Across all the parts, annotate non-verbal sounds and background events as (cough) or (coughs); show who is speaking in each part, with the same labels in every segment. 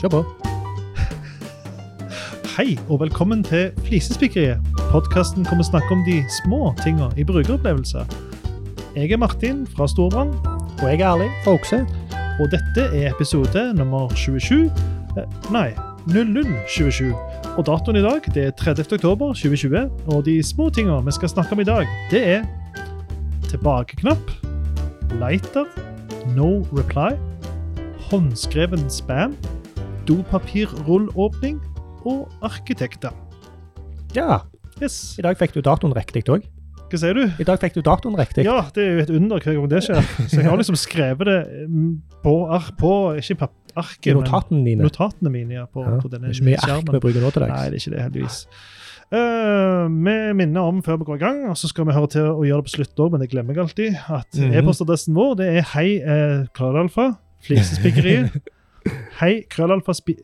Speaker 1: Kjør på.
Speaker 2: Hei, og velkommen til Flisespikkeriet. Podkasten hvor vi snakker om de små tinga i brukeropplevelser. Jeg er Martin fra Storbrand,
Speaker 1: Og jeg er ærlig fra Okse.
Speaker 2: og dette er episode nummer 27 eh, Nei, 0027. Og datoen i dag det er 30. oktober 2020. Og de små tinga vi skal snakke om i dag, det er tilbakeknapp, lighter, no reply, håndskreven spam, dopapirrullåpning og arkitekter.
Speaker 1: Ja,
Speaker 2: Yes.
Speaker 1: i dag fikk du datoen riktig òg.
Speaker 2: Hva sier du?
Speaker 1: I dag fikk du datoen riktig.
Speaker 2: Ja, det er jo et under hver gang det skjer. Så jeg har liksom skrevet det mm, på, ar på ikke på arket,
Speaker 1: I notatene
Speaker 2: men
Speaker 1: dine.
Speaker 2: notatene mine ja, på,
Speaker 1: Ja,
Speaker 2: på
Speaker 1: det
Speaker 2: denne
Speaker 1: er ikke mye ark vi
Speaker 2: skjermen.
Speaker 1: bruker nå til
Speaker 2: Nei,
Speaker 1: dags.
Speaker 2: det er ikke det, heldigvis. Eh, vi minner om før vi går i gang, og så skal vi høre til å gjøre det på slutt òg, men det glemmer jeg alltid, at
Speaker 1: Mhm.
Speaker 2: e-postadressen vår det er hei eh, krøllalfa
Speaker 1: (laughs)
Speaker 2: flisespikkeriet. Hei krøllalfa spi...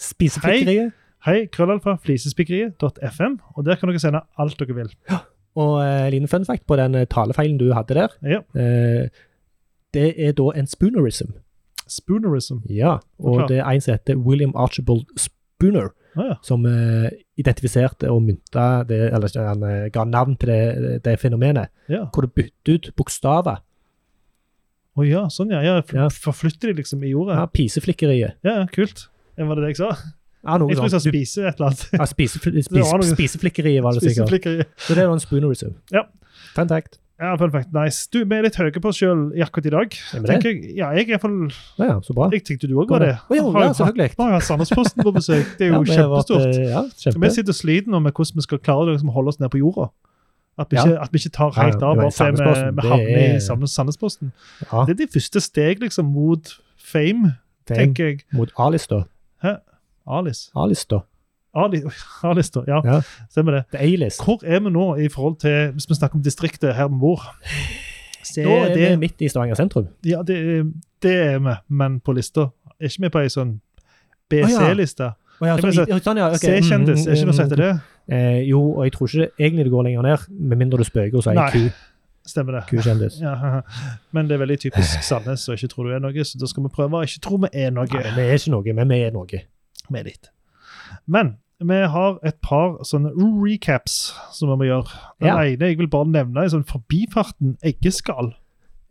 Speaker 1: Spisefikkeriet.
Speaker 2: Hei, krøllalfa, flisespikkeriet.fm, og der kan dere sende alt dere vil.
Speaker 1: Og eh, en liten fun fact på den eh, talefeilen du hadde der.
Speaker 2: Ja.
Speaker 1: Eh, det er da en spoonerism.
Speaker 2: Spoonerism.
Speaker 1: Ja, og
Speaker 2: Forklar.
Speaker 1: det er en som heter William Archibald Spooner,
Speaker 2: Ah, ja.
Speaker 1: som eh, identifiserte og mynta det, eller ikke, han eh, ga navn til det, det fenomenet,
Speaker 2: ja.
Speaker 1: hvor du bytter ut bokstaver.
Speaker 2: Å ja, sånn ja. ja. f-
Speaker 1: Ja.
Speaker 2: Forflytter de liksom i
Speaker 1: Ja,
Speaker 2: jordet?
Speaker 1: piseflikkeriet.
Speaker 2: Ja, ja kult. Ja, Var det det jeg sa?
Speaker 1: Ja, noe
Speaker 2: Jeg tror jeg sa
Speaker 1: sånt. sånn. Du-
Speaker 2: spise et eller annet.
Speaker 1: Ja,
Speaker 2: (laughs)
Speaker 1: spisefl-
Speaker 2: Det var
Speaker 1: spis,
Speaker 2: noe-
Speaker 1: spiseflikkeriet (laughs) var det sikkert.
Speaker 2: Spiseflikker.
Speaker 1: Så det er da en spoonerism.
Speaker 2: Ja.
Speaker 1: Fun fact.
Speaker 2: Ja, fun fact. Nice. Du, vi er litt høye på oss sjøl akkurat i dag.
Speaker 1: Er vi det?
Speaker 2: tenker Jeg, ja, jeg er i hvert fall
Speaker 1: Ja, ja, så bra.
Speaker 2: Jeg tenkte du òg var det.
Speaker 1: Å, jo,
Speaker 2: Har jo
Speaker 1: ja, selvfølgelig.
Speaker 2: hatt- har jo hatt Sandnesposten på besøk. Det er
Speaker 1: Ja,
Speaker 2: jo
Speaker 1: vi har vært,
Speaker 2: kjempestort.
Speaker 1: eh, Ja,
Speaker 2: Vi
Speaker 1: kjempe.
Speaker 2: sitter og sliter nå med hvordan vi skal klare å liksom holde oss ned på jorda. At vi,
Speaker 1: Ja.
Speaker 2: ikke, at vi ikke tar helt
Speaker 1: Ja,
Speaker 2: av
Speaker 1: men
Speaker 2: bare fordi vi,
Speaker 1: Sandnesposten,
Speaker 2: vi havner
Speaker 1: det er-
Speaker 2: i Sand- Sandnesposten.
Speaker 1: Ja,
Speaker 2: Det er de første steg liksom mot fame,
Speaker 1: tenk
Speaker 2: tenker jeg.
Speaker 1: mot Alice da.
Speaker 2: Alice.
Speaker 1: Alice da.
Speaker 2: Ali- (laughs) A-lista, ja.
Speaker 1: Ja.
Speaker 2: Stemmer det.
Speaker 1: The A-list.
Speaker 2: Hvor er vi nå i forhold til hvis vi snakker om distriktet her vi bor? Det,
Speaker 1: Nå er vi
Speaker 2: det,
Speaker 1: midt i Stavanger sentrum.
Speaker 2: ja, det, det er vi, men på lista. Er ikke vi på ei sånn
Speaker 1: Å, ja.
Speaker 2: BC-liste?
Speaker 1: Å ja,
Speaker 2: Ja, men
Speaker 1: sånn,
Speaker 2: så-
Speaker 1: ja, sånn, ja, ok. mm,
Speaker 2: C-kjendis, er ikke noe som heter det?
Speaker 1: Eh, jo, og jeg tror ikke egentlig det går lenger ned, med mindre du spøker og sier
Speaker 2: Nei.
Speaker 1: ku-
Speaker 2: Stemmer det. (laughs)
Speaker 1: ku-kjendis.
Speaker 2: Ja, men det er veldig typisk Sandnes å ikke tro du er noe, så da skal vi prøve å ikke tro vi er
Speaker 1: Nei,
Speaker 2: noe.
Speaker 1: men vi er ikke noe, men vi er noe.
Speaker 2: Vi er litt. Men vi har et par sånne recaps som vi må gjøre. Den
Speaker 1: Ja.
Speaker 2: ene jeg vil bare nevne i sånn forbifarten eggeskall.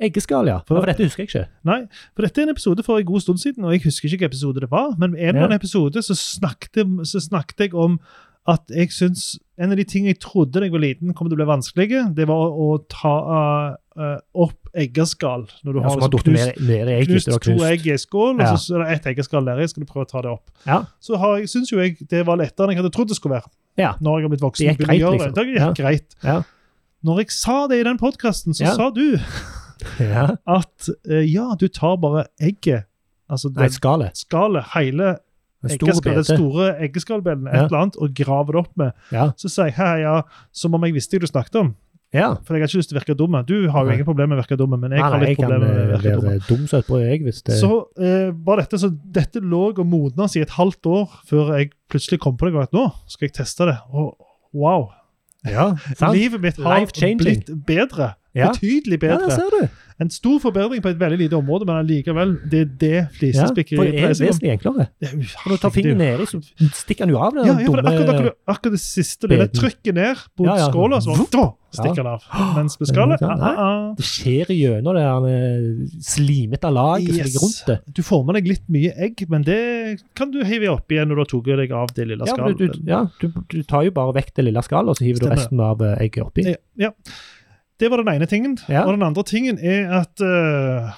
Speaker 1: Eggeskall, ja.
Speaker 2: For-
Speaker 1: For, for dette husker jeg ikke.
Speaker 2: Nei, for dette er en episode for en god stund siden, og jeg husker ikke hvilken episode det var, men i en eller annen episode så snakket, så snakket jeg om at jeg syns en av de tingene jeg trodde da jeg var liten kom til å bli vanskelig, det var å, å ta eh, opp eggeskall. Når du
Speaker 1: Ja,
Speaker 2: har
Speaker 1: som har
Speaker 2: liksom
Speaker 1: datt
Speaker 2: knust,
Speaker 1: ned ned i egg
Speaker 2: knust
Speaker 1: etter å ha
Speaker 2: to
Speaker 1: knust.
Speaker 2: egg i en skål,
Speaker 1: Ja.
Speaker 2: og så er det ett eggeskall der i, skal du prøve å ta det opp.
Speaker 1: Ja.
Speaker 2: Så har jeg, syns jo jeg det var lettere enn jeg hadde trodd det skulle være.
Speaker 1: Ja.
Speaker 2: Når jeg har blitt voksen.
Speaker 1: Det gikk
Speaker 2: begynner å
Speaker 1: greit,
Speaker 2: gjøre
Speaker 1: liksom.
Speaker 2: Det, det gikk
Speaker 1: Ja.
Speaker 2: greit.
Speaker 1: Ja.
Speaker 2: Når jeg sa det i den podkasten, så
Speaker 1: Ja.
Speaker 2: sa du
Speaker 1: (laughs) Ja.
Speaker 2: at eh, ja, du tar bare egget, altså
Speaker 1: Nei,
Speaker 2: den
Speaker 1: skallet.
Speaker 2: skallet, hele
Speaker 1: En stor
Speaker 2: eggeskall, den
Speaker 1: bete.
Speaker 2: store eggeskallbellen, et
Speaker 1: Ja.
Speaker 2: eller annet, og graver det opp med.
Speaker 1: Ja.
Speaker 2: Så sier jeg hei, ja, som om jeg visste hva du snakket om,
Speaker 1: ja.
Speaker 2: for jeg har ikke lyst til å virke dum. Du har jo
Speaker 1: Nei.
Speaker 2: ingen problemer med å virke dum, men jeg
Speaker 1: Nei,
Speaker 2: har
Speaker 1: nei,
Speaker 2: litt
Speaker 1: jeg kan
Speaker 2: problemer med å
Speaker 1: eh,
Speaker 2: virke dum.
Speaker 1: være dum som et brød, jeg, hvis det
Speaker 2: Så eh, var dette, så dette lå og modnes i et halvt år før jeg plutselig kom på det og at nå skal jeg teste det. Og wow!
Speaker 1: Ja, sant?
Speaker 2: Livet mitt har
Speaker 1: Life-changing.
Speaker 2: blitt bedre.
Speaker 1: Ja.
Speaker 2: Betydelig
Speaker 1: Ja, der
Speaker 2: bedre.
Speaker 1: ser du.
Speaker 2: En stor forbedring på et veldig lite område, men allikevel, det er det
Speaker 1: Ja, for
Speaker 2: flisespikkeriet
Speaker 1: det er vesentlig enklere.
Speaker 2: Det er jo-
Speaker 1: Når du tar fingeren nedi, så stikker han jo av den
Speaker 2: Ja, ja, for det er
Speaker 1: dumme
Speaker 2: akkurat, akkurat, akkurat det siste lille
Speaker 1: beden.
Speaker 2: trykket ned mot
Speaker 1: Ja, ja.
Speaker 2: skåla, så bare, da stikker den av. Mens med skallet
Speaker 1: Ja,
Speaker 2: ah,
Speaker 1: nei.
Speaker 2: ah, ah.
Speaker 1: Det skjer gjennom det her eh, slimete laget som ligger rundt det.
Speaker 2: Du får med deg litt mye egg, men det kan du hive opp igjen når du har tatt deg av det lille
Speaker 1: Ja, men du,
Speaker 2: skallet.
Speaker 1: du, ja du, du tar jo bare vekk det lille skallet, og så hiver
Speaker 2: Stemmer.
Speaker 1: du resten av eh, egget oppi.
Speaker 2: Ja, ja. Det var den ene tingen.
Speaker 1: Ja.
Speaker 2: Og den andre tingen er at eh,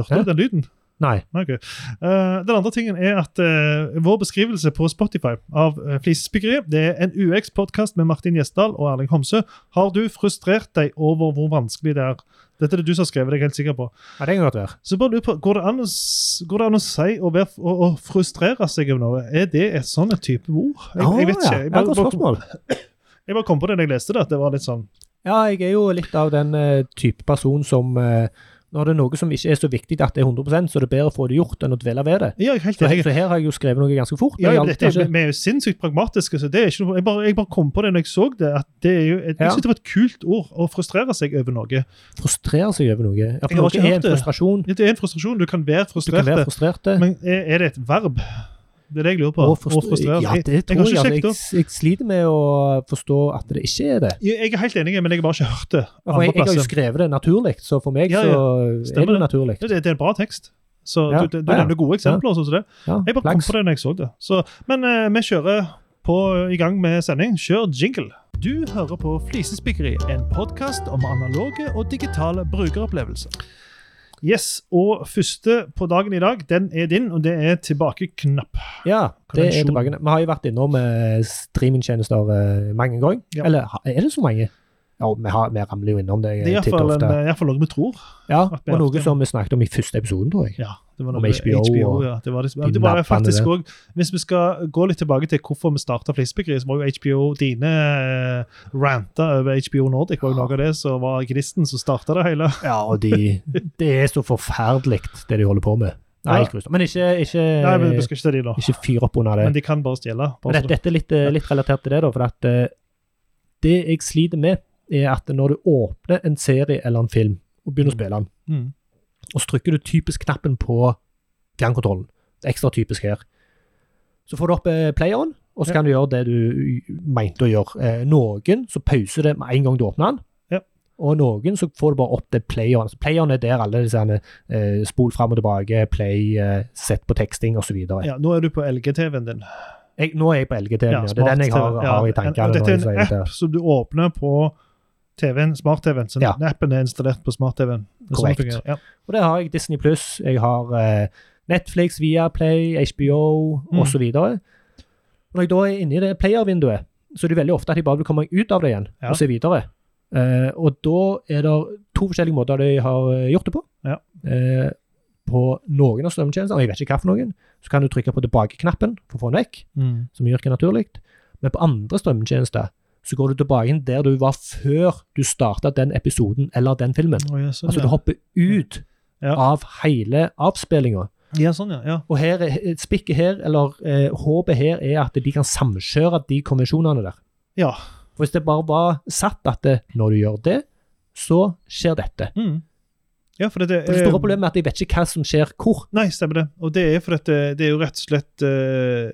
Speaker 2: Hørte
Speaker 1: Ja.
Speaker 2: du den lyden?
Speaker 1: Nei.
Speaker 2: Nei, ok. Eh, den andre tingen er at eh, vår beskrivelse på Spotify av uh, Flisesbyggeriet det er en UX-podkast med Martin Gjesdal og Erling Homsø. Har du frustrert deg over hvor vanskelig det er? Dette er det du som har skrevet, det er jeg helt sikker på.
Speaker 1: Ja, det kan godt være.
Speaker 2: Så bare lurer på, Går det an å, s- går det an å si å, være, å, å frustrere seg over noe? Er det et sånn et type ord? Jeg, jeg vet ikke.
Speaker 1: Ja,
Speaker 2: Jeg
Speaker 1: ja,
Speaker 2: bare,
Speaker 1: godt
Speaker 2: bare,
Speaker 1: spørsmål.
Speaker 2: jeg bare kom på det da jeg leste det. at det var litt sånn,
Speaker 1: Ja, jeg er jo litt av den eh, type person som eh, Når det er noe som ikke er så viktig at det er 100 så er det bedre å få det gjort enn å dvele ved det.
Speaker 2: Ja, jeg er helt
Speaker 1: Så her,
Speaker 2: enig.
Speaker 1: så her har jeg jo skrevet noe ganske fort. men
Speaker 2: Ja, ja,
Speaker 1: jeg
Speaker 2: dette,
Speaker 1: antar
Speaker 2: er-
Speaker 1: ikke-
Speaker 2: vi er jo sinnssykt pragmatiske, så det er ikke noe, jeg, bare, jeg bare kom på det når jeg så det. at det er jo, Jeg, jeg
Speaker 1: Ja.
Speaker 2: synes det var et kult ord å frustrere seg over noe.
Speaker 1: frustrerer seg over noe. Ja, for
Speaker 2: Jeg har
Speaker 1: noe
Speaker 2: ikke
Speaker 1: er
Speaker 2: hørt
Speaker 1: en
Speaker 2: det.
Speaker 1: frustrasjon.
Speaker 2: Det er en frustrasjon. Du kan være
Speaker 1: Du kan
Speaker 2: frustrert,
Speaker 1: være frustrert.
Speaker 2: men er, er det et verb? Det er det jeg lurer på.
Speaker 1: og
Speaker 2: Å frustrere.
Speaker 1: Ja, det
Speaker 2: jeg, jeg
Speaker 1: tror
Speaker 2: har
Speaker 1: jeg.
Speaker 2: ikke
Speaker 1: Altså,
Speaker 2: sjekket
Speaker 1: jeg,
Speaker 2: opp.
Speaker 1: jeg sliter med å forstå at det ikke er det.
Speaker 2: Jeg jeg er helt enig, men jeg har bare ikke hørt det.
Speaker 1: Ja, For jeg,
Speaker 2: andre
Speaker 1: jeg har jo
Speaker 2: plasser.
Speaker 1: skrevet det naturlig, så for meg
Speaker 2: Ja, ja.
Speaker 1: så er
Speaker 2: Stemmer
Speaker 1: det
Speaker 2: det.
Speaker 1: naturlig.
Speaker 2: Det, det er en bra tekst. Så
Speaker 1: Ja,
Speaker 2: Du, du, du
Speaker 1: ja, ja.
Speaker 2: nevner gode eksempler. og sånn som det.
Speaker 1: Ja,
Speaker 2: Jeg bare
Speaker 1: flaks.
Speaker 2: kom på det når jeg så det. Så, men eh, vi kjører på i gang med sending. Kjør jingle. Du hører på Flisespikkeri, en podkast om analoge og digitale brukeropplevelser. Yes, og første på dagen i dag, den er din, og det er tilbakeknapp.
Speaker 1: Ja, det er
Speaker 2: Konvensjon.
Speaker 1: tilbake. Vi har jo vært innom eh, streamingtjenester eh, mange ganger.
Speaker 2: Ja.
Speaker 1: Eller ha- er det så mange? Ja, vi, har, vi ramler jo innom det
Speaker 2: Det
Speaker 1: eh,
Speaker 2: er
Speaker 1: titt og
Speaker 2: iallfall
Speaker 1: ofte.
Speaker 2: noe vi tror.
Speaker 1: Ja,
Speaker 2: at vi
Speaker 1: og
Speaker 2: har hatt
Speaker 1: noe
Speaker 2: det.
Speaker 1: som vi snakket om i første episoden, tror jeg.
Speaker 2: Ja, det var
Speaker 1: Om
Speaker 2: noe med
Speaker 1: HBO og
Speaker 2: ja. Det var, det,
Speaker 1: de
Speaker 2: det var
Speaker 1: nappene
Speaker 2: faktisk
Speaker 1: der.
Speaker 2: også, Hvis vi skal gå litt tilbake til hvorfor vi starta Flisespikkeriet, så var jo HBO dine eh, ranta over HBO Nordic. var jo noe av det som var gnisten som starta det hele.
Speaker 1: Ja, og de, det er så forferdelig, det de holder på med.
Speaker 2: Ja.
Speaker 1: Nei, helt grusomt. Men ikke, ikke,
Speaker 2: Nei, men vi skal ikke ta de nå.
Speaker 1: Eh, ikke fyr opp under det.
Speaker 2: Men de kan bare stjele.
Speaker 1: Men
Speaker 2: Bare
Speaker 1: dette, dette er litt, eh, litt relatert til det, da. For at eh, det jeg sliter med, er at når du åpner en serie eller en film og begynner å
Speaker 2: Mm.
Speaker 1: spille den,
Speaker 2: så- Mm.
Speaker 1: og så trykker du typisk knappen på fjernkontrollen. Det er Ekstra typisk her. Så får du opp eh, playeren, og så
Speaker 2: Ja.
Speaker 1: kan du gjøre det du mente å gjøre. Eh, noen så pauser det med en gang du åpner den.
Speaker 2: Ja.
Speaker 1: Og noen så får du bare opp det playeren. Så playeren er der alle disse herne, eh, spol fram og tilbake, play, eh, sett på teksting osv.
Speaker 2: Ja, nå er du på LG-TV-en din.
Speaker 1: Jeg- Nå er jeg på LGTV, ja, det er den jeg har,
Speaker 2: smart-TV.
Speaker 1: har i
Speaker 2: Ja,
Speaker 1: tankene.
Speaker 2: og
Speaker 1: når jeg
Speaker 2: dette er
Speaker 1: sier
Speaker 2: en
Speaker 1: dette.
Speaker 2: app som du åpner på TV-en, smart-TV-en. Så
Speaker 1: Ja.
Speaker 2: den appen er installert på smart-TV-en. Det er sånn det
Speaker 1: Korrekt.
Speaker 2: fungerer. Ja.
Speaker 1: Og der har jeg Disney Pluss, jeg har eh, Netflix, Viaplay, HBO
Speaker 2: Mm.
Speaker 1: og osv. Når jeg da er inne i det player-vinduet, så er det veldig ofte at jeg bare vil komme meg ut av det igjen
Speaker 2: Ja.
Speaker 1: og se videre. Eh, og da er det to forskjellige måter de har eh, gjort det på.
Speaker 2: Ja.
Speaker 1: Eh, på noen av strømmetjenestene, og jeg vet ikke hva for noen, så kan du trykke på tilbake-knappen for å få den vekk,
Speaker 2: Mm.
Speaker 1: som gjør det naturlig. Men på andre strømmetjenester så går du tilbake inn der du var før du starta den episoden eller den filmen.
Speaker 2: Å, ja, sånn,
Speaker 1: Altså, du
Speaker 2: ja.
Speaker 1: hopper ut
Speaker 2: Ja.
Speaker 1: av hele avspillinga.
Speaker 2: ja, sånn, ja. ja.
Speaker 1: Og her, er- spikket her, eller eh, håpet her, er at de kan samkjøre de konvensjonene der.
Speaker 2: ja.
Speaker 1: For hvis det bare var satt at det, når du gjør det, så skjer dette.
Speaker 2: Mm. ja for det, det,
Speaker 1: For det
Speaker 2: eh,
Speaker 1: store problemet er at jeg vet ikke hva som skjer hvor.
Speaker 2: Nei, stemmer det. Og det er fordi at det, det er jo rett og slett eh,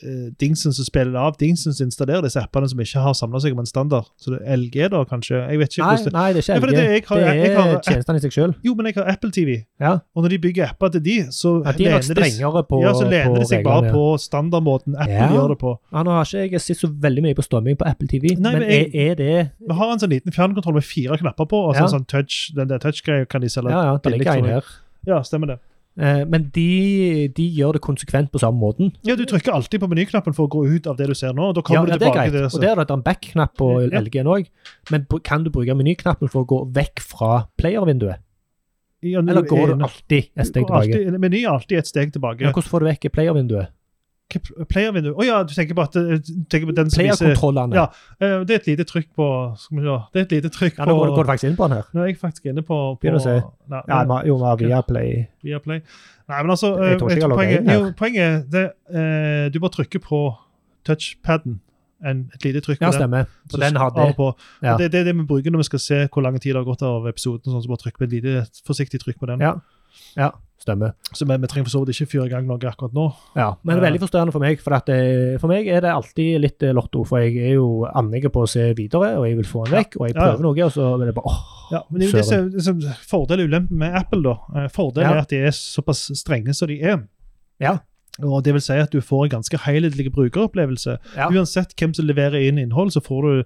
Speaker 2: eh, Dingsen som spiller det av. Dingsen som installerer disse appene som ikke har samla seg om en standard. Så det er LG, da, kanskje. Jeg vet ikke
Speaker 1: Nei,
Speaker 2: hvordan det
Speaker 1: nei, det er
Speaker 2: Ja,
Speaker 1: ikke
Speaker 2: for
Speaker 1: LG.
Speaker 2: det er det jeg har-
Speaker 1: det
Speaker 2: jeg
Speaker 1: er
Speaker 2: har-
Speaker 1: tjenestene i seg sjøl.
Speaker 2: Jo, men jeg har Apple TV.
Speaker 1: Ja.
Speaker 2: Og når de bygger apper til de, så
Speaker 1: Ja, de er nok strengere på,
Speaker 2: ja, så lener
Speaker 1: på
Speaker 2: de seg bare på standardmåten Apple
Speaker 1: Ja.
Speaker 2: gjør det på.
Speaker 1: Ja, nå har ikke jeg sett så veldig mye på strømming på Apple TV,
Speaker 2: Nei,
Speaker 1: men,
Speaker 2: men jeg-
Speaker 1: er, er det
Speaker 2: Vi har en sånn liten fjernkontroll med fire knapper på, og så
Speaker 1: Ja.
Speaker 2: en sånn touch, den der touch-greia kan de selge.
Speaker 1: Ja, ja, det
Speaker 2: billig,
Speaker 1: ligger en
Speaker 2: tror jeg.
Speaker 1: her.
Speaker 2: Ja, stemmer det.
Speaker 1: Eh, men de, de gjør det konsekvent på samme måten.
Speaker 2: Ja, du trykker alltid på menyknappen for å gå ut av det du ser nå, og da
Speaker 1: Ja,
Speaker 2: kommer
Speaker 1: ja,
Speaker 2: du
Speaker 1: det er
Speaker 2: tilbake
Speaker 1: greit.
Speaker 2: til det.
Speaker 1: Og der er det en back-knapp på
Speaker 2: Ja.
Speaker 1: LG-en òg. Men br- kan du bruke menyknappen for å gå vekk fra player-vinduet?
Speaker 2: Ja, nå
Speaker 1: Eller går
Speaker 2: er-
Speaker 1: du alltid et steg tilbake?
Speaker 2: Alltid, meny er alltid et steg tilbake.
Speaker 1: Ja, hvordan får du vekk player-vinduet?
Speaker 2: Hva- Player-vindu. Å ja, du tenker på, at, eh, du tenker på den som viser
Speaker 1: Player-kontrollene.
Speaker 2: Ja,
Speaker 1: Ja,
Speaker 2: Eh, Det er et lite trykk på Skal vi se. Det er et lite trykk
Speaker 1: nå går du-
Speaker 2: på
Speaker 1: går du faktisk inn på den her.
Speaker 2: Nå er jeg faktisk inne på, på
Speaker 1: Begynner å se.
Speaker 2: Nei,
Speaker 1: Ja, ma- jo, vi har Viaplay.
Speaker 2: Viaplay. Nei, men altså
Speaker 1: Jeg tror ikke
Speaker 2: eh,
Speaker 1: jeg har logget
Speaker 2: poenget,
Speaker 1: inn her.
Speaker 2: jo, poenget er det, eh, du bare trykker på touchpaden. En, et lite trykk på
Speaker 1: Ja,
Speaker 2: den.
Speaker 1: stemmer.
Speaker 2: så
Speaker 1: Så den har
Speaker 2: av og
Speaker 1: det.
Speaker 2: På.
Speaker 1: Ja.
Speaker 2: Og Det, det er det vi bruker når vi skal se hvor lang tid det har gått av episoden. sånn, så bare trykk på et lite forsiktig trykk på den.
Speaker 1: Ja. ja, stemmer.
Speaker 2: Så vi, vi trenger for så vidt ikke fyre i gang noe akkurat nå.
Speaker 1: Ja, Men det er veldig forstørrende for meg. For, at det, for meg er det alltid litt eh, lotto. For jeg er jo andege på å se videre, og jeg vil få den vekk. Og jeg
Speaker 2: Ja, ja.
Speaker 1: prøver noe, og så er det bare åh.
Speaker 2: Ja, men det er jo det som det som er fordel og ulempe med Apple. da. Eh, Fordelen
Speaker 1: Ja.
Speaker 2: er at de er såpass strenge som de er.
Speaker 1: Ja.
Speaker 2: Og det vil si at du får en ganske helhetlig brukeropplevelse.
Speaker 1: Ja.
Speaker 2: Uansett hvem som leverer inn innhold, så får du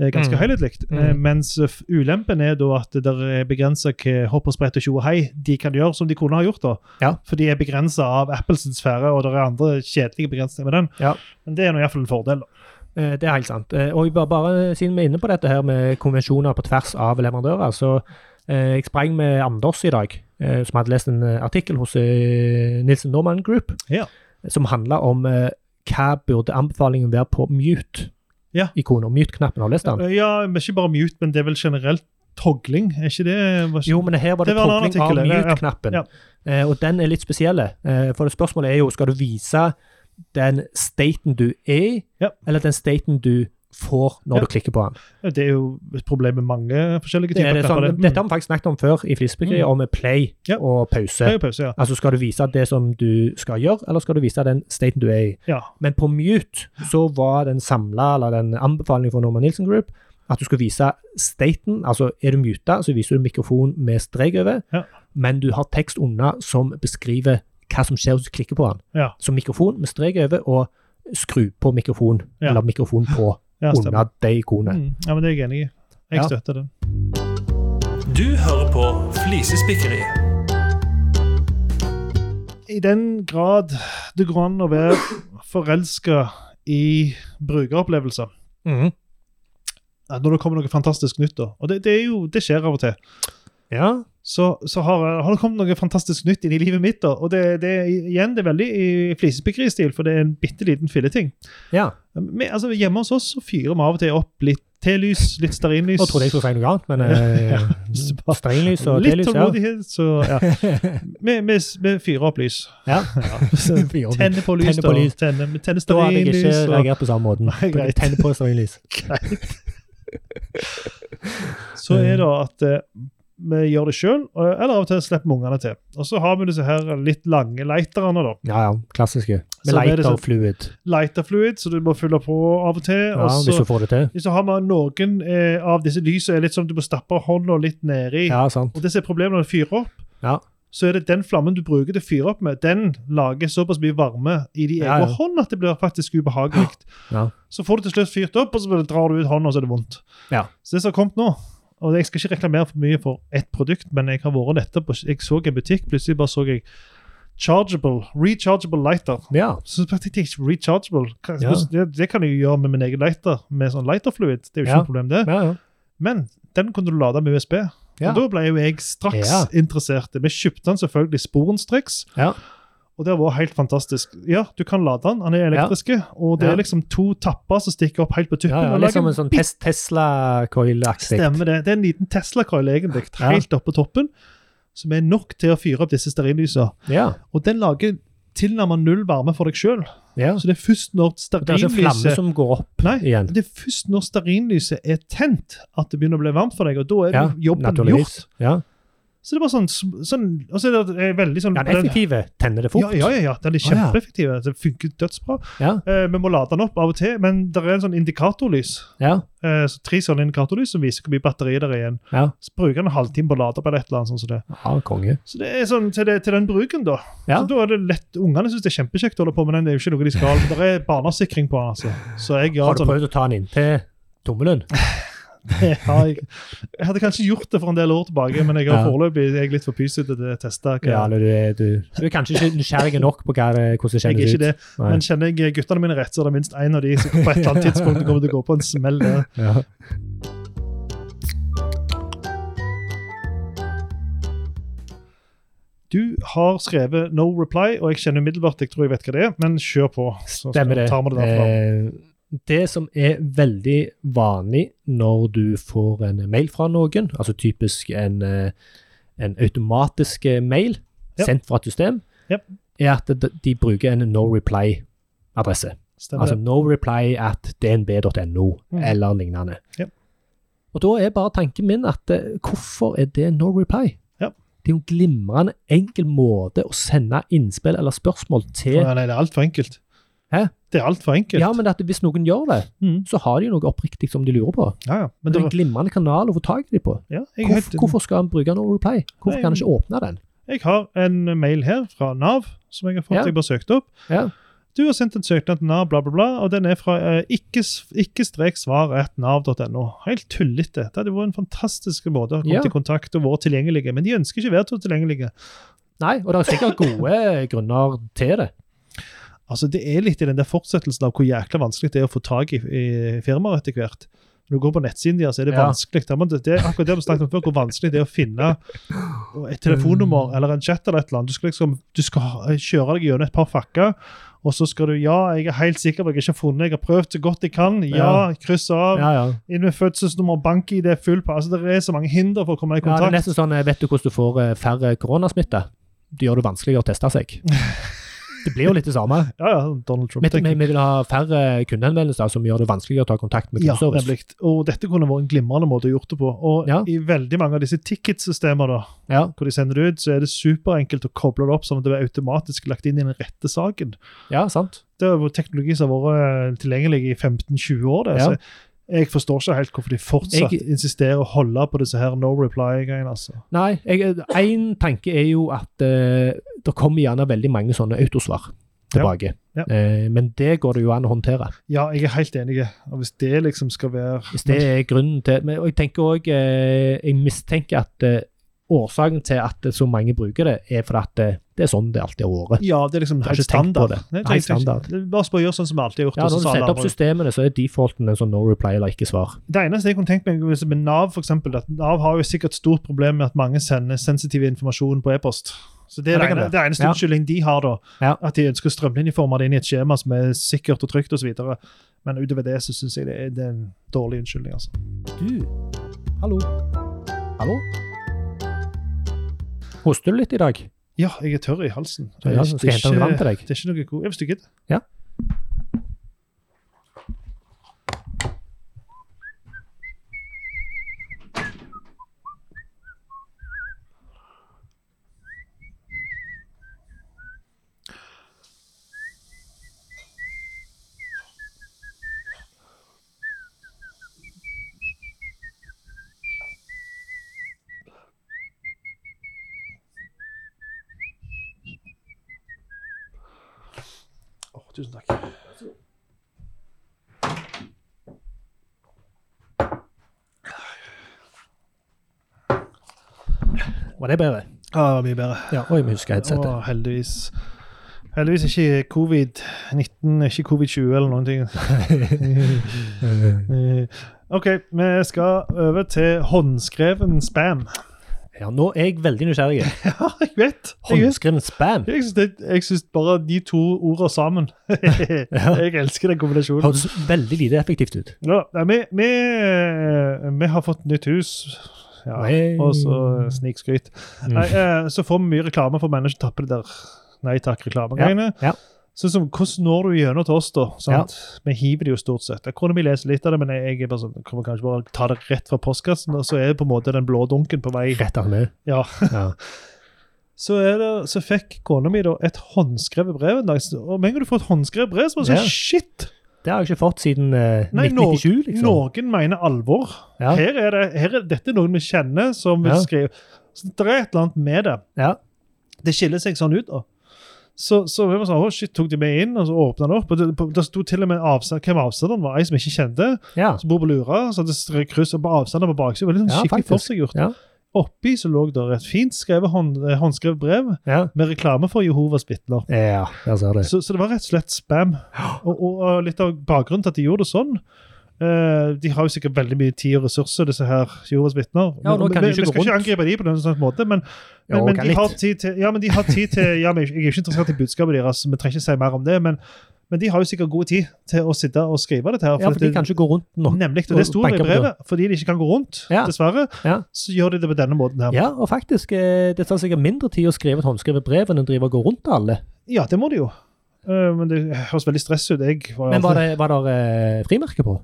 Speaker 2: eh, ganske
Speaker 1: Mm.
Speaker 2: helhetlig. Eh,
Speaker 1: Mm.
Speaker 2: mens eh, f- ulempen er da at det der er begrensa hva hopp og sprett og tjo og hei de kan gjøre, som de kunne ha gjort. da.
Speaker 1: Ja.
Speaker 2: For de er begrensa av Apples sfære, og det er andre kjedelige begrensninger med den.
Speaker 1: Ja.
Speaker 2: Men det er nå iallfall en fordel. da.
Speaker 1: Eh, Det er helt sant. Eh, Og jeg bare, bare siden vi er inne på dette her med konvensjoner på tvers av leverandører, så eh, jeg sprang med Anders i dag, eh, som hadde lest en eh, artikkel hos eh, Nilsen Norman Group,
Speaker 2: Ja.
Speaker 1: som handla om eh, hva burde anbefalingen være på mute?
Speaker 2: Ja.
Speaker 1: Ikonet, mute-knappen, har du lest den?
Speaker 2: Eh, Ja, men Ikke bare mute, men det er vel generelt togling, er ikke det var ikke,
Speaker 1: Jo, men her var det,
Speaker 2: Det var en annen
Speaker 1: togling av
Speaker 2: artikkel, ja, ja.
Speaker 1: mute-knappen.
Speaker 2: Ja.
Speaker 1: Eh, og den er litt spesiell. Eh, for spørsmålet er jo skal du vise den staten du er i,
Speaker 2: Ja.
Speaker 1: eller den staten du får når
Speaker 2: Ja.
Speaker 1: du klikker på den.
Speaker 2: Det er jo et problem med mange forskjellige
Speaker 1: Det er
Speaker 2: typer Mm.
Speaker 1: det sånn,
Speaker 2: knapper.
Speaker 1: Dette har vi faktisk snakket om før i Flisbekøya,
Speaker 2: Mm.
Speaker 1: om play
Speaker 2: Ja.
Speaker 1: og pause.
Speaker 2: Høy pause, ja.
Speaker 1: Altså Skal du vise det som du skal gjøre, eller skal du vise den staten du er i?
Speaker 2: ja.
Speaker 1: Men på mute så var den samla, eller den anbefalingen fra Norman Nielsen Group, at du skulle vise staten. Altså er du muta, så viser du mikrofon med strek over,
Speaker 2: Ja.
Speaker 1: men du har tekst unna som beskriver hva som skjer hvis du klikker på den.
Speaker 2: Ja.
Speaker 1: Så mikrofon med strek over, og skru på mikrofon,
Speaker 2: Ja.
Speaker 1: eller mikrofon på,
Speaker 2: Ja, stemmer.
Speaker 1: under det ikonet.
Speaker 2: Mm, ja, men det er jeg enig i. Jeg
Speaker 1: Ja.
Speaker 2: støtter den.
Speaker 3: Du hører på Flisespikkeri.
Speaker 2: I den grad det går an å være forelska i brukeropplevelser
Speaker 1: Mhm.
Speaker 2: ja, Når det kommer noe fantastisk nytt, da. Og det, det, er jo, det skjer av og til.
Speaker 1: Ja.
Speaker 2: så, så har, har det kommet noe fantastisk nytt inn i livet mitt. da, og det, det er igjen det er veldig i flisespikkeri-stil, for det er en bitte liten filleting.
Speaker 1: ja.
Speaker 2: Men, altså, hjemme hos oss så fyrer vi av og til opp litt telys, litt stearinlys.
Speaker 1: Jeg trodde jeg skulle si
Speaker 2: (laughs)
Speaker 1: noe annet, men eh,
Speaker 2: Ja.
Speaker 1: strenglys og
Speaker 2: Litt
Speaker 1: telys, ja.
Speaker 2: tålmodighet, så
Speaker 1: (laughs)
Speaker 2: ja. Vi, vi, vi fyrer opp lys. (laughs)
Speaker 1: ja.
Speaker 2: Tenner på lys,
Speaker 1: Tenner på lys.
Speaker 2: da. Tenner, tenner
Speaker 1: Da hadde jeg ikke
Speaker 2: stearinlys. og-
Speaker 1: reagert på samme måten.
Speaker 2: (laughs) Nei, greit.
Speaker 1: Tenn på
Speaker 2: (laughs)
Speaker 1: stearinlys.
Speaker 2: Så
Speaker 1: Mm.
Speaker 2: er det at eh, vi gjør det sjøl, eller av og til slipper vi ungene til. Og så har vi disse her litt lange lighterne, da.
Speaker 1: Ja, ja. Klassiske. Med
Speaker 2: Så er det
Speaker 1: lighter
Speaker 2: sånn-
Speaker 1: og fluid.
Speaker 2: Lighterfluid, så du må fylle på av og til.
Speaker 1: Ja,
Speaker 2: og så,
Speaker 1: hvis du får det til.
Speaker 2: Så har man noen eh, av disse lysene er litt som du må stappe hånda litt nedi.
Speaker 1: Ja, sant.
Speaker 2: Og det som er problemet når du fyrer opp,
Speaker 1: Ja.
Speaker 2: så er det den flammen du bruker til å fyre opp med, den lager såpass mye varme i de
Speaker 1: Ja,
Speaker 2: egne
Speaker 1: ja.
Speaker 2: hånd at det blir faktisk ubehagelig.
Speaker 1: Ja.
Speaker 2: Så får du til slutt fyrt opp, og så bare drar du ut hånda, og så er det vondt.
Speaker 1: Ja.
Speaker 2: Så det som har kommet nå, og jeg skal ikke reklamere for mye for ett produkt, men jeg har vært nettopp, og jeg så en butikk, plutselig bare så jeg chargeable, rechargeable lighter.
Speaker 1: ja.
Speaker 2: Så tenkte jeg ikke rechargeable. Hva-
Speaker 1: Ja.
Speaker 2: hvordan- Det, det kan jeg jo gjøre med min egen lighter, med sånn lighterfluid. Det er jo ikke
Speaker 1: Ja.
Speaker 2: noe problem, det.
Speaker 1: ja, ja.
Speaker 2: Men den kunne du lade med USB.
Speaker 1: Ja.
Speaker 2: Og da ble jo jeg straks
Speaker 1: Ja.
Speaker 2: interessert. Vi kjøpte den selvfølgelig sporenstreks.
Speaker 1: Ja.
Speaker 2: Og det var helt fantastisk. Ja, du kan lade den. Han er elektriske. Og det
Speaker 1: Ja.
Speaker 2: er liksom to tapper som stikker opp helt på tuppen.
Speaker 1: ja, ja.
Speaker 2: og
Speaker 1: Litt som
Speaker 2: lager
Speaker 1: en sånn
Speaker 2: bitte-
Speaker 1: tes Tesla-coil-aktig.
Speaker 2: Stemmer det. Det er en liten Tesla-coil egentlig,
Speaker 1: Ja.
Speaker 2: helt oppe på toppen, som er nok til å fyre opp disse stearinlysene.
Speaker 1: Ja.
Speaker 2: Og den lager tilnærmet null varme for deg sjøl.
Speaker 1: ja.
Speaker 2: Så det er først når
Speaker 1: Det er ikke en flamme
Speaker 2: stearinlyset
Speaker 1: som går opp
Speaker 2: Nei,
Speaker 1: igjen.
Speaker 2: det er først når stearinlyset er tent, at det begynner å bli varmt for deg. Og da er
Speaker 1: Ja,
Speaker 2: det jobben gjort.
Speaker 1: naturligvis. Ja.
Speaker 2: Så det var sånn, sånn Og så er det er veldig sånn
Speaker 1: ja, den effektive tenner det
Speaker 2: ja,
Speaker 1: fort.
Speaker 2: ja, ja, ja. Den er
Speaker 1: Å, ja.
Speaker 2: kjempeeffektiv. altså, Det funker dødsbra.
Speaker 1: Ja.
Speaker 2: Eh, vi må lade den opp av og til, men det er en sånn indikatorlys.
Speaker 1: Ja.
Speaker 2: Eh, så tre sånne indikatorlys som viser hvor mye batteri det er igjen.
Speaker 1: Ja.
Speaker 2: Så bruker den en halvtime på å lade opp eller et eller annet sånt som det.
Speaker 1: ja, konge.
Speaker 2: Så det er sånn til, det, til den bruken, da.
Speaker 1: Ja.
Speaker 2: Så da er det lett, Ungene syns det er kjempekjekt å holde på med den, det er jo ikke noe de skal. Men det er barnesikring på den, altså. Så jeg
Speaker 1: Har
Speaker 2: gjør
Speaker 1: du
Speaker 2: sånn.
Speaker 1: prøvd å ta den inntil tommelen?
Speaker 2: (laughs) Ja, jeg, jeg hadde kanskje gjort det for en del år tilbake, men jeg har
Speaker 1: Ja.
Speaker 2: foreløpig jeg er litt for pysete til å teste. hva-
Speaker 1: Ja, eller du er, du, du er kanskje ikke nysgjerrig nok på hva, det- hvordan det
Speaker 2: jeg er
Speaker 1: kjennes
Speaker 2: ikke
Speaker 1: ut.
Speaker 2: det.
Speaker 1: Nei.
Speaker 2: Men kjenner jeg guttene mine rett, så er det minst én av de som på et eller annet tidspunkt kommer til å gå på en smell. der.
Speaker 1: Ja.
Speaker 2: Du har skrevet 'no reply', og jeg kjenner umiddelbart jeg tror jeg vet hva det er, men kjør på. Så
Speaker 1: Stemmer det.
Speaker 2: tar vi det derfra.
Speaker 1: Eh, det som er veldig vanlig når du får en mail fra noen, altså typisk en, eh, en automatisk eh, mail
Speaker 2: Ja.
Speaker 1: sendt fra et system,
Speaker 2: Ja.
Speaker 1: er at de- de bruker en no reply-adresse.
Speaker 2: Stemmer
Speaker 1: Altså
Speaker 2: det.
Speaker 1: no reply at dnb.no
Speaker 2: Mm.
Speaker 1: eller lignende.
Speaker 2: Ja.
Speaker 1: Og da er bare tanken min at eh, hvorfor er det no reply?
Speaker 2: Ja.
Speaker 1: Det er jo en glimrende enkel måte å sende innspill eller spørsmål til
Speaker 2: Å, nei, det er altfor enkelt.
Speaker 1: Hæ?
Speaker 2: Det er altfor enkelt.
Speaker 1: Ja, men at hvis noen gjør det,
Speaker 2: Mm.
Speaker 1: så har de jo noe oppriktig som de lurer på.
Speaker 2: ja, ja. Men
Speaker 1: Men det er en
Speaker 2: det,
Speaker 1: glimrende kanal å få tak i dem på.
Speaker 2: ja, jeg, er
Speaker 1: Hvorfor,
Speaker 2: helt-
Speaker 1: hvorfor skal han bruke No Reply? Hvorfor
Speaker 2: Nei,
Speaker 1: kan han ikke åpne den?
Speaker 2: jeg har en mail her fra Nav som jeg har fått.
Speaker 1: Ja.
Speaker 2: Jeg bare søkte opp.
Speaker 1: Ja.
Speaker 2: Du har sendt en søknad til Nav, bla, bla, bla, og den er fra eh, ikke-svar ikke strek svar at nav.no. Helt tullete. Det hadde vært en fantastisk måte å komme
Speaker 1: Ja.
Speaker 2: i kontakt og være tilgjengelige, men de ønsker ikke å være tilgjengelige.
Speaker 1: Nei, og det er sikkert gode grunner til det.
Speaker 2: Altså, Det er litt i den der fortsettelsen av hvor jækla vanskelig det er å få tak i, i firmaer etter hvert. Når du går på nettsiden deres, er det
Speaker 1: Ja.
Speaker 2: vanskelig. Det er- men det- det er akkurat det vi snakket om før, hvor vanskelig det er å finne et telefonnummer eller en chat eller et eller annet. Du skal liksom du skal ha- kjøre deg gjennom et par fakker, og så skal du Ja, jeg er helt sikker på at jeg ikke har funnet Jeg har prøvd så godt jeg kan. Ja, kryss av.
Speaker 1: Ja, ja.
Speaker 2: Inn med fødselsnummer, bank-ID, full på. Altså, Det er så mange hinder for å komme i
Speaker 1: ja det er
Speaker 2: kontakt.
Speaker 1: nesten sånn eh, Vet du hvordan du får eh, færre koronasmitte? Det gjør det vanskeligere å teste seg.
Speaker 2: (laughs)
Speaker 1: Det blir jo litt det samme.
Speaker 2: Ja, ja, Donald Trump.
Speaker 1: Vi,
Speaker 2: tenker
Speaker 1: vi, vi vil ha færre kundeanvendelser som gjør det vanskeligere å ta kontakt med
Speaker 2: Ja,
Speaker 1: kundeservice.
Speaker 2: nemlig. Og dette kunne vært en glimrende måte å gjort det på. Og
Speaker 1: Ja.
Speaker 2: i veldig mange av disse ticketsystemer, da,
Speaker 1: Ja,
Speaker 2: hvor de sender det ut, så er det superenkelt å koble det opp som om det er automatisk lagt inn i den rette saken.
Speaker 1: ja, sant.
Speaker 2: Det er jo teknologi som har vært tilgjengelig i 15-20 år. det,
Speaker 1: Ja.
Speaker 2: så jeg forstår ikke helt hvorfor de fortsatt
Speaker 1: Jeg-
Speaker 2: insisterer å holde på disse her no reply-greiene. altså.
Speaker 1: Nei, én tanke er jo at eh, det kommer gjerne veldig mange sånne autosvar tilbake.
Speaker 2: Ja,
Speaker 1: Eh, men det går det jo an å håndtere.
Speaker 2: Ja, jeg er helt enig. Og Hvis det liksom skal være
Speaker 1: Hvis det er grunnen til men, Og jeg tenker også, eh, jeg mistenker at eh, årsaken til at så mange bruker det, er fordi at eh, det er sånn det alltid har vært.
Speaker 2: Ja, det er liksom
Speaker 1: Jeg har
Speaker 2: helt
Speaker 1: ikke tenkt på
Speaker 2: standard.
Speaker 1: det.
Speaker 2: Nei,
Speaker 1: Nei,
Speaker 2: tenk- tenk-
Speaker 1: standard.
Speaker 2: Bare spør gjør sånn som vi alltid har gjort.
Speaker 1: Ja,
Speaker 2: og sånn
Speaker 1: Når du
Speaker 2: som alle
Speaker 1: setter opp
Speaker 2: andre.
Speaker 1: systemene, så er defaulten en sånn no reply eller ikke svar.
Speaker 2: Det eneste jeg kunne tenkt meg hvis- med Nav, for eksempel, at Nav har jo sikkert stort problem med at mange sender sensitiv informasjon på e-post. Så Det er
Speaker 1: Ja, det
Speaker 2: det,
Speaker 1: kan
Speaker 2: ene,
Speaker 1: det.
Speaker 2: det er eneste
Speaker 1: Ja.
Speaker 2: unnskyldning de har, da.
Speaker 1: Ja.
Speaker 2: At de ønsker å strømlinjeforme det inn i et skjema som er sikkert og trygt osv. Men utover det så syns jeg det er, det er en dårlig unnskyldning. altså.
Speaker 1: Du, hallo. Hallo? Hoster du litt i dag?
Speaker 2: Ja, jeg er tørr i halsen.
Speaker 1: Du, ja, skal jeg hente noe vann til deg?
Speaker 2: det er ikke noe god Ja, Hvis du gidder.
Speaker 1: Ja.
Speaker 2: Åh, tusen takk.
Speaker 1: Var det bedre?
Speaker 2: Ja, det var mye bedre.
Speaker 1: Ja, oi, vi husker headsetet.
Speaker 2: Og heldigvis Heldigvis ikke covid-19, ikke covid-20 eller noen ting. Eh, OK, vi skal over til håndskreven spam.
Speaker 1: Ja, nå er jeg veldig nysgjerrig.
Speaker 2: Ja, jeg vet! Jeg, vet.
Speaker 1: Håndskrevet spam.
Speaker 2: jeg, syns, det, jeg syns bare de to ordene sammen (laughs) Jeg elsker den kombinasjonen.
Speaker 1: Høres veldig lite effektivt ut.
Speaker 2: Ja, nei, vi, vi, eh, vi har fått nytt hus. Ja,
Speaker 1: Hey.
Speaker 2: og så snikskryt.
Speaker 1: Mm.
Speaker 2: Nei, eh, så får vi mye reklame for mennesker som tapper det der nei takk-reklamegreiene.
Speaker 1: Ja, ja.
Speaker 2: Sånn som, Hvordan når du gjennom til oss, da? sant? Vi hiver det jo stort sett. Jeg kunne vi lese litt av det, men jeg, jeg er bare sånn, kommer kanskje bare ta det rett fra postkassen, og så er det på en måte den blå dunken på vei.
Speaker 1: Rett av med.
Speaker 2: Ja.
Speaker 1: Ja.
Speaker 2: (laughs) Så, er det, så fikk kona mi da et håndskrevet brev en dag. så- Og med en gang du får et håndskrevet brev, så er det
Speaker 1: Ja.
Speaker 2: sånn shit!
Speaker 1: Det har jeg ikke fått siden eh,
Speaker 2: Nei, nå-
Speaker 1: 1997, liksom.
Speaker 2: Noen mener alvor.
Speaker 1: Ja.
Speaker 2: Her er det, her er, dette er noen vi kjenner, som vil
Speaker 1: Ja.
Speaker 2: skrive. Så det er et eller annet med det.
Speaker 1: Ja.
Speaker 2: det skiller seg sånn ut, da. Så, så vi var sånn, å shit, tok de med inn, og så åpna den opp. og Det, på- det sto til og med avstand, hvem avstanderen var, ei som jeg ikke kjente.
Speaker 1: ja.
Speaker 2: Som bor på Lura. Så hadde det kryss på avstander på baksiden. Veldig sånn
Speaker 1: Ja,
Speaker 2: skikkelig
Speaker 1: faktisk.
Speaker 2: forseggjort.
Speaker 1: Ja.
Speaker 2: Oppi så lå det et fint skrevet hånd, eh, håndskrevet brev
Speaker 1: Ja.
Speaker 2: med reklame for Jehovas vitner.
Speaker 1: ja, der ser du.
Speaker 2: Så, så det var rett og slett spam. Og, og, og litt av bakgrunnen til at de gjorde det sånn eh, de har jo sikkert veldig mye tid og ressurser, disse her Jehovas vitner.
Speaker 1: Ja, nå
Speaker 2: Men-
Speaker 1: kan
Speaker 2: men-
Speaker 1: de
Speaker 2: vi
Speaker 1: ikke gå
Speaker 2: skal ikke
Speaker 1: rundt.
Speaker 2: angripe de på noen sånn måte, men
Speaker 1: Jo,
Speaker 2: men, men,
Speaker 1: kan
Speaker 2: de har
Speaker 1: litt.
Speaker 2: tid til, ja, men de har tid til ja, men Jeg er jo ikke interessert i budskapet deres, vi trenger ikke si mer om det. Men, men de har jo sikkert god tid til å sitte og skrive dette. her.
Speaker 1: Ja, for de
Speaker 2: det-
Speaker 1: kan ikke gå rundt nå.
Speaker 2: Nemlig, og det sto det
Speaker 1: banke
Speaker 2: i
Speaker 1: på
Speaker 2: brevet. Fordi de ikke kan gå rundt,
Speaker 1: Ja.
Speaker 2: dessverre,
Speaker 1: Ja.
Speaker 2: så gjør de det på denne måten. her.
Speaker 1: Ja, og faktisk, eh, det tar sikkert mindre tid å skrive et håndskrevet brev enn å drive og gå rundt til alle.
Speaker 2: Ja, det må de jo. Eh, men det høres veldig stress ut. Jeg var jo
Speaker 1: Men var
Speaker 2: alltid-
Speaker 1: det, var det eh, frimerke på?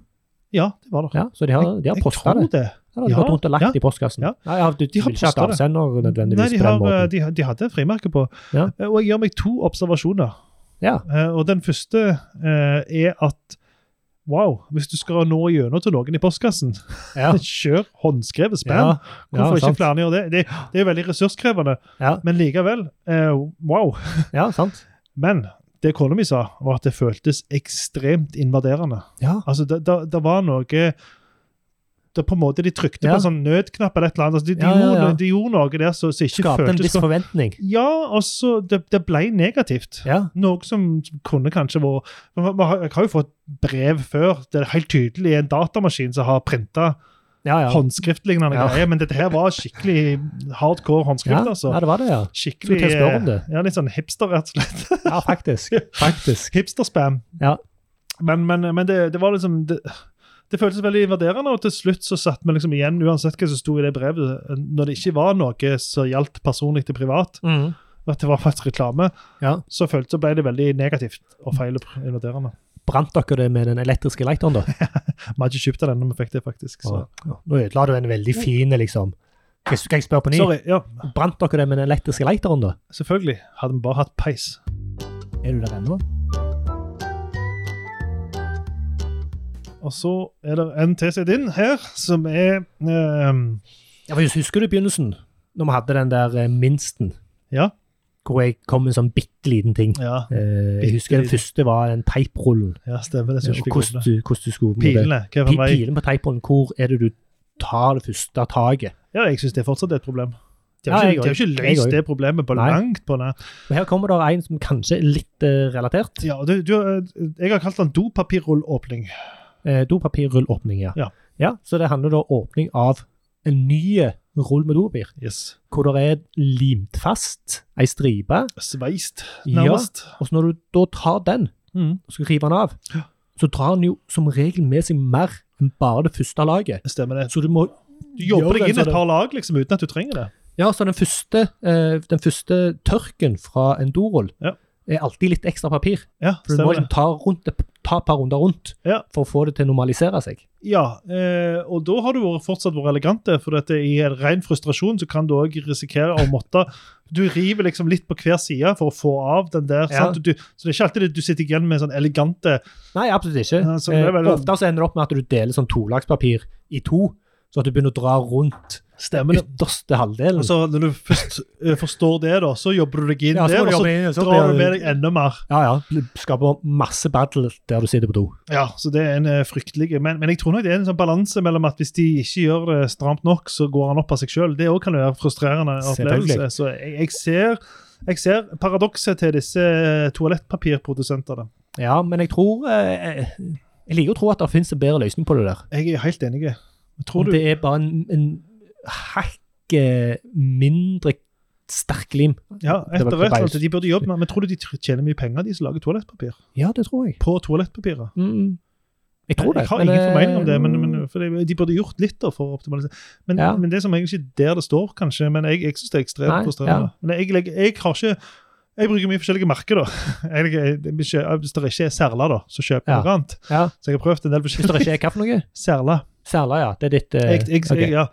Speaker 2: Ja, det var det.
Speaker 1: Ja, så de har, de har
Speaker 2: jeg
Speaker 1: posta
Speaker 2: tror
Speaker 1: det?
Speaker 2: det.
Speaker 1: Eller har de
Speaker 2: Ja,
Speaker 1: gått rundt og lagt
Speaker 2: ja,
Speaker 1: det i postkassen?
Speaker 2: ja.
Speaker 1: Nei, ja,
Speaker 2: De
Speaker 1: du, de
Speaker 2: har
Speaker 1: vil ikke
Speaker 2: postet
Speaker 1: ha
Speaker 2: det.
Speaker 1: avsender nødvendigvis
Speaker 2: Nei, de,
Speaker 1: på den
Speaker 2: har, eh,
Speaker 1: måten?
Speaker 2: de, de hadde frimerke på.
Speaker 1: Ja.
Speaker 2: Eh, Og jeg gjør meg to observasjoner.
Speaker 1: Ja.
Speaker 2: Eh, Og den første eh, er at wow, hvis du skal nå gjennom til noen i postkassen, (laughs)
Speaker 1: Ja.
Speaker 2: kjør håndskrevet
Speaker 1: Ja,
Speaker 2: spam. Hvorfor
Speaker 1: ja,
Speaker 2: ikke
Speaker 1: sant.
Speaker 2: flere gjør det? Det, det er jo veldig ressurskrevende,
Speaker 1: Ja.
Speaker 2: men likevel. eh, wow.
Speaker 1: ja, sant.
Speaker 2: Men det kona mi sa, var at det føltes ekstremt invaderende.
Speaker 1: Ja.
Speaker 2: Altså, det, det, det var noe det på en måte de trykte
Speaker 1: Ja.
Speaker 2: på en sånn nødknapp eller et eller annet. Altså, de, de,
Speaker 1: Ja, ja,
Speaker 2: Gjorde,
Speaker 1: ja.
Speaker 2: de gjorde noe der som som ikke
Speaker 1: Skapte en
Speaker 2: føltes
Speaker 1: viss
Speaker 2: så
Speaker 1: forventning.
Speaker 2: Ja, og så det, det ble negativt.
Speaker 1: Ja.
Speaker 2: Noe som kunne kanskje vært men man- man har- Jeg har jo fått brev før. Det er helt tydelig en datamaskin som har printa
Speaker 1: Ja, ja.
Speaker 2: håndskriftlignende
Speaker 1: Ja.
Speaker 2: greier, men dette her var skikkelig hardcore håndskrift.
Speaker 1: ja.
Speaker 2: altså.
Speaker 1: ja, det var det, ja. Skulle
Speaker 2: Skikkelig
Speaker 1: til å spørre om det.
Speaker 2: Ja, litt sånn hipster, rett og slett. (laughs)
Speaker 1: Ja, faktisk. Faktisk.
Speaker 2: Hipsterspam.
Speaker 1: Ja.
Speaker 2: Men, men, men det, det var liksom det, det føltes veldig invaderende, og til slutt så satt vi liksom igjen, uansett hva som sto i det brevet, når det ikke var noe som gjaldt personlig til privat,
Speaker 1: Mm.
Speaker 2: og at det var faktisk reklame,
Speaker 1: Ja.
Speaker 2: så føltes så ble det veldig negativt og feil og invaderende.
Speaker 1: Brant dere det med den elektriske lighteren, da?
Speaker 2: Vi hadde ikke kjøpt av den når vi fikk det, faktisk. Så.
Speaker 1: Ja. Nå ødela du en veldig fin, liksom Hvis du kan jeg spørre på ny,
Speaker 2: Sorry. Ja,
Speaker 1: brant dere det med den elektriske lighteren, da?
Speaker 2: selvfølgelig. Hadde vi bare hatt peis.
Speaker 1: Er du der ennå?
Speaker 2: Og så er det en til seg inn her, som er ehm,
Speaker 1: Ja, for Husker du begynnelsen? Når vi hadde den der eh, minsten,
Speaker 2: Ja.
Speaker 1: hvor jeg kom med en sånn bitte liten ting.
Speaker 2: Ja,
Speaker 1: Eh, jeg husker den
Speaker 2: Bitteliten.
Speaker 1: første var den teiprullen.
Speaker 2: ja stemmer det.
Speaker 1: og
Speaker 2: synes jeg fikk
Speaker 1: Hvordan
Speaker 2: ordene.
Speaker 1: du, hvordan du skulle
Speaker 2: Pilene. Hva
Speaker 1: Pi-
Speaker 2: for vei?
Speaker 1: Pilen på teiprullen, hvor er det du tar det første taket?
Speaker 2: Ja, jeg syns det fortsatt er et problem. De
Speaker 1: Ja,
Speaker 2: har
Speaker 1: jeg
Speaker 2: ikke, de har
Speaker 1: også.
Speaker 2: ikke
Speaker 1: Jeg
Speaker 2: løst
Speaker 1: også.
Speaker 2: det problemet på
Speaker 1: Nei.
Speaker 2: langt på nær.
Speaker 1: Og Her kommer det en som kanskje er litt eh, relatert.
Speaker 2: Ja, du, du, jeg har kalt den dopapirrullåpning.
Speaker 1: Eh, dopapirrullåpning, ja.
Speaker 2: Ja.
Speaker 1: Så det handler da om åpning av en ny rull med dopapir,
Speaker 2: Yes.
Speaker 1: hvor det er limt fast ei stripe,
Speaker 2: Sveist,
Speaker 1: Ja.
Speaker 2: nærmest.
Speaker 1: og så når du da tar den
Speaker 2: Mm,
Speaker 1: og skal rive den av, så drar den jo som regel med seg mer enn bare det første laget.
Speaker 2: stemmer det.
Speaker 1: Så du må
Speaker 2: Du jobber
Speaker 1: gjøre
Speaker 2: deg
Speaker 1: en
Speaker 2: inn
Speaker 1: sånn-
Speaker 2: et par lag liksom, uten at du trenger det.
Speaker 1: Ja, så den første, eh, den første tørken fra en dorull
Speaker 2: Ja.
Speaker 1: er alltid litt ekstra papir.
Speaker 2: Ja,
Speaker 1: For du
Speaker 2: stemmer
Speaker 1: må liksom
Speaker 2: det.
Speaker 1: ta, rundt, det- ta et par runder rundt
Speaker 2: Ja.
Speaker 1: for å få det til å normalisere seg.
Speaker 2: Ja, eh, og da har du vært, fortsatt vært elegante, for dette, i en ren frustrasjon så kan du òg risikere å måtte Du river liksom litt på hver side for å få av den der.
Speaker 1: Ja.
Speaker 2: Sant? Du, så det er ikke alltid du sitter igjen med sånn elegante
Speaker 1: Nei, absolutt ikke.
Speaker 2: Ja, så det er
Speaker 1: Eh,
Speaker 2: vel-
Speaker 1: Ofte så ender det opp med at du deler sånn tolagspapir i to, så at du begynner å dra rundt
Speaker 2: Stemmer det.
Speaker 1: ytterste halvdelen.
Speaker 2: Og så når du først eh, forstår det, da, så jobber du deg inn
Speaker 1: Ja, så
Speaker 2: der,
Speaker 1: må
Speaker 2: og
Speaker 1: du
Speaker 2: så
Speaker 1: jobbe inn, så
Speaker 2: drar
Speaker 1: blir
Speaker 2: du
Speaker 1: det-
Speaker 2: med deg enda mer.
Speaker 1: Ja, ja. bl- Skaper masse battle der du sitter på do.
Speaker 2: Ja, Så det er en eh, fryktelig Men, men jeg tror nok det er en sånn balanse mellom at hvis de ikke gjør det stramt nok, så går han opp av seg sjøl. Det òg kan jo være frustrerende opplevelse.
Speaker 1: Selvfølgelig.
Speaker 2: Så jeg, jeg ser jeg ser paradokset til disse eh, toalettpapirprodusentene.
Speaker 1: Ja, men jeg tror eh, eh, Jeg liker å tro at det finnes en bedre løsning på det der.
Speaker 2: Jeg er helt enig.
Speaker 1: Om
Speaker 2: Tror du
Speaker 1: det er bare en, en hakket mindre sterk lim.
Speaker 2: Ja,
Speaker 1: det var
Speaker 2: etter hvert.
Speaker 1: Klebeis.
Speaker 2: altså, De burde jobbe med Men tror du de tr- tjener mye penger, de som lager toalettpapir?
Speaker 1: Ja, det tror jeg.
Speaker 2: På toalettpapiret?
Speaker 1: Mm. Jeg tror det.
Speaker 2: Jeg har
Speaker 1: men,
Speaker 2: ingen formening om det, men,
Speaker 1: eh,
Speaker 2: men for de, de burde gjort litt da for å optimalisere. Men,
Speaker 1: Ja.
Speaker 2: men det er som egentlig ikke der det står, kanskje. Men jeg, jeg syns det er
Speaker 1: Nei,
Speaker 2: ekstremt frustrerende. Men jeg, legger- jeg har ikke jeg bruker mye forskjellige merker. da. (laughs) Jeg, jeg, jeg- hvis det ikke er Serla, da, så kjøper jeg
Speaker 1: Ja.
Speaker 2: noe annet.
Speaker 1: Ja.
Speaker 2: Så jeg har prøvd en del
Speaker 1: Hvis det
Speaker 2: forskjellige
Speaker 1: ikke er hva for noe?
Speaker 2: (laughs) Serla.
Speaker 1: Særla, ja. Det er ditt eh,
Speaker 2: Jeg, jeg,
Speaker 1: ok.
Speaker 2: jeg, ja.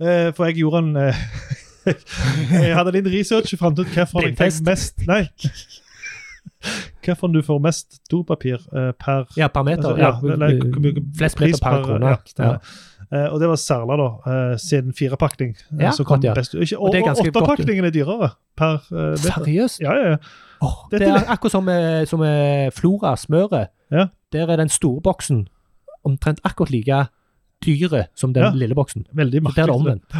Speaker 2: Eh, For jeg gjorde en eh, (laughs) Jeg hadde litt research og fant ut hvorfor jeg fikk
Speaker 1: Blindtest.
Speaker 2: mest Nei. (laughs) Hvorfor du får mest dopapir eh, per
Speaker 1: Ja, per meter.
Speaker 2: Altså,
Speaker 1: ja,
Speaker 2: ja, eller hvor mye
Speaker 1: flest
Speaker 2: pris
Speaker 1: meter per krone.
Speaker 2: ja,
Speaker 1: Ja,
Speaker 2: stemmer. Eh, og det var Serla, da, eh, sin firepakning. eh,
Speaker 1: Ja,
Speaker 2: som kom
Speaker 1: akkurat, ja.
Speaker 2: best ut. Ikke,
Speaker 1: Og
Speaker 2: og
Speaker 1: det er ganske godt,
Speaker 2: åttepakningen er dyrere per eh, meter.
Speaker 1: Seriøst?
Speaker 2: Ja, ja, ja.
Speaker 1: Åh,
Speaker 2: Dette
Speaker 1: det er
Speaker 2: er-
Speaker 1: akkurat som, eh, som eh, Flora-smøret.
Speaker 2: Ja.
Speaker 1: Der er den store boksen omtrent akkurat like dyre som den
Speaker 2: Ja.
Speaker 1: lille boksen.
Speaker 2: Veldig
Speaker 1: Så der er
Speaker 2: merkelig.
Speaker 1: det omvendt.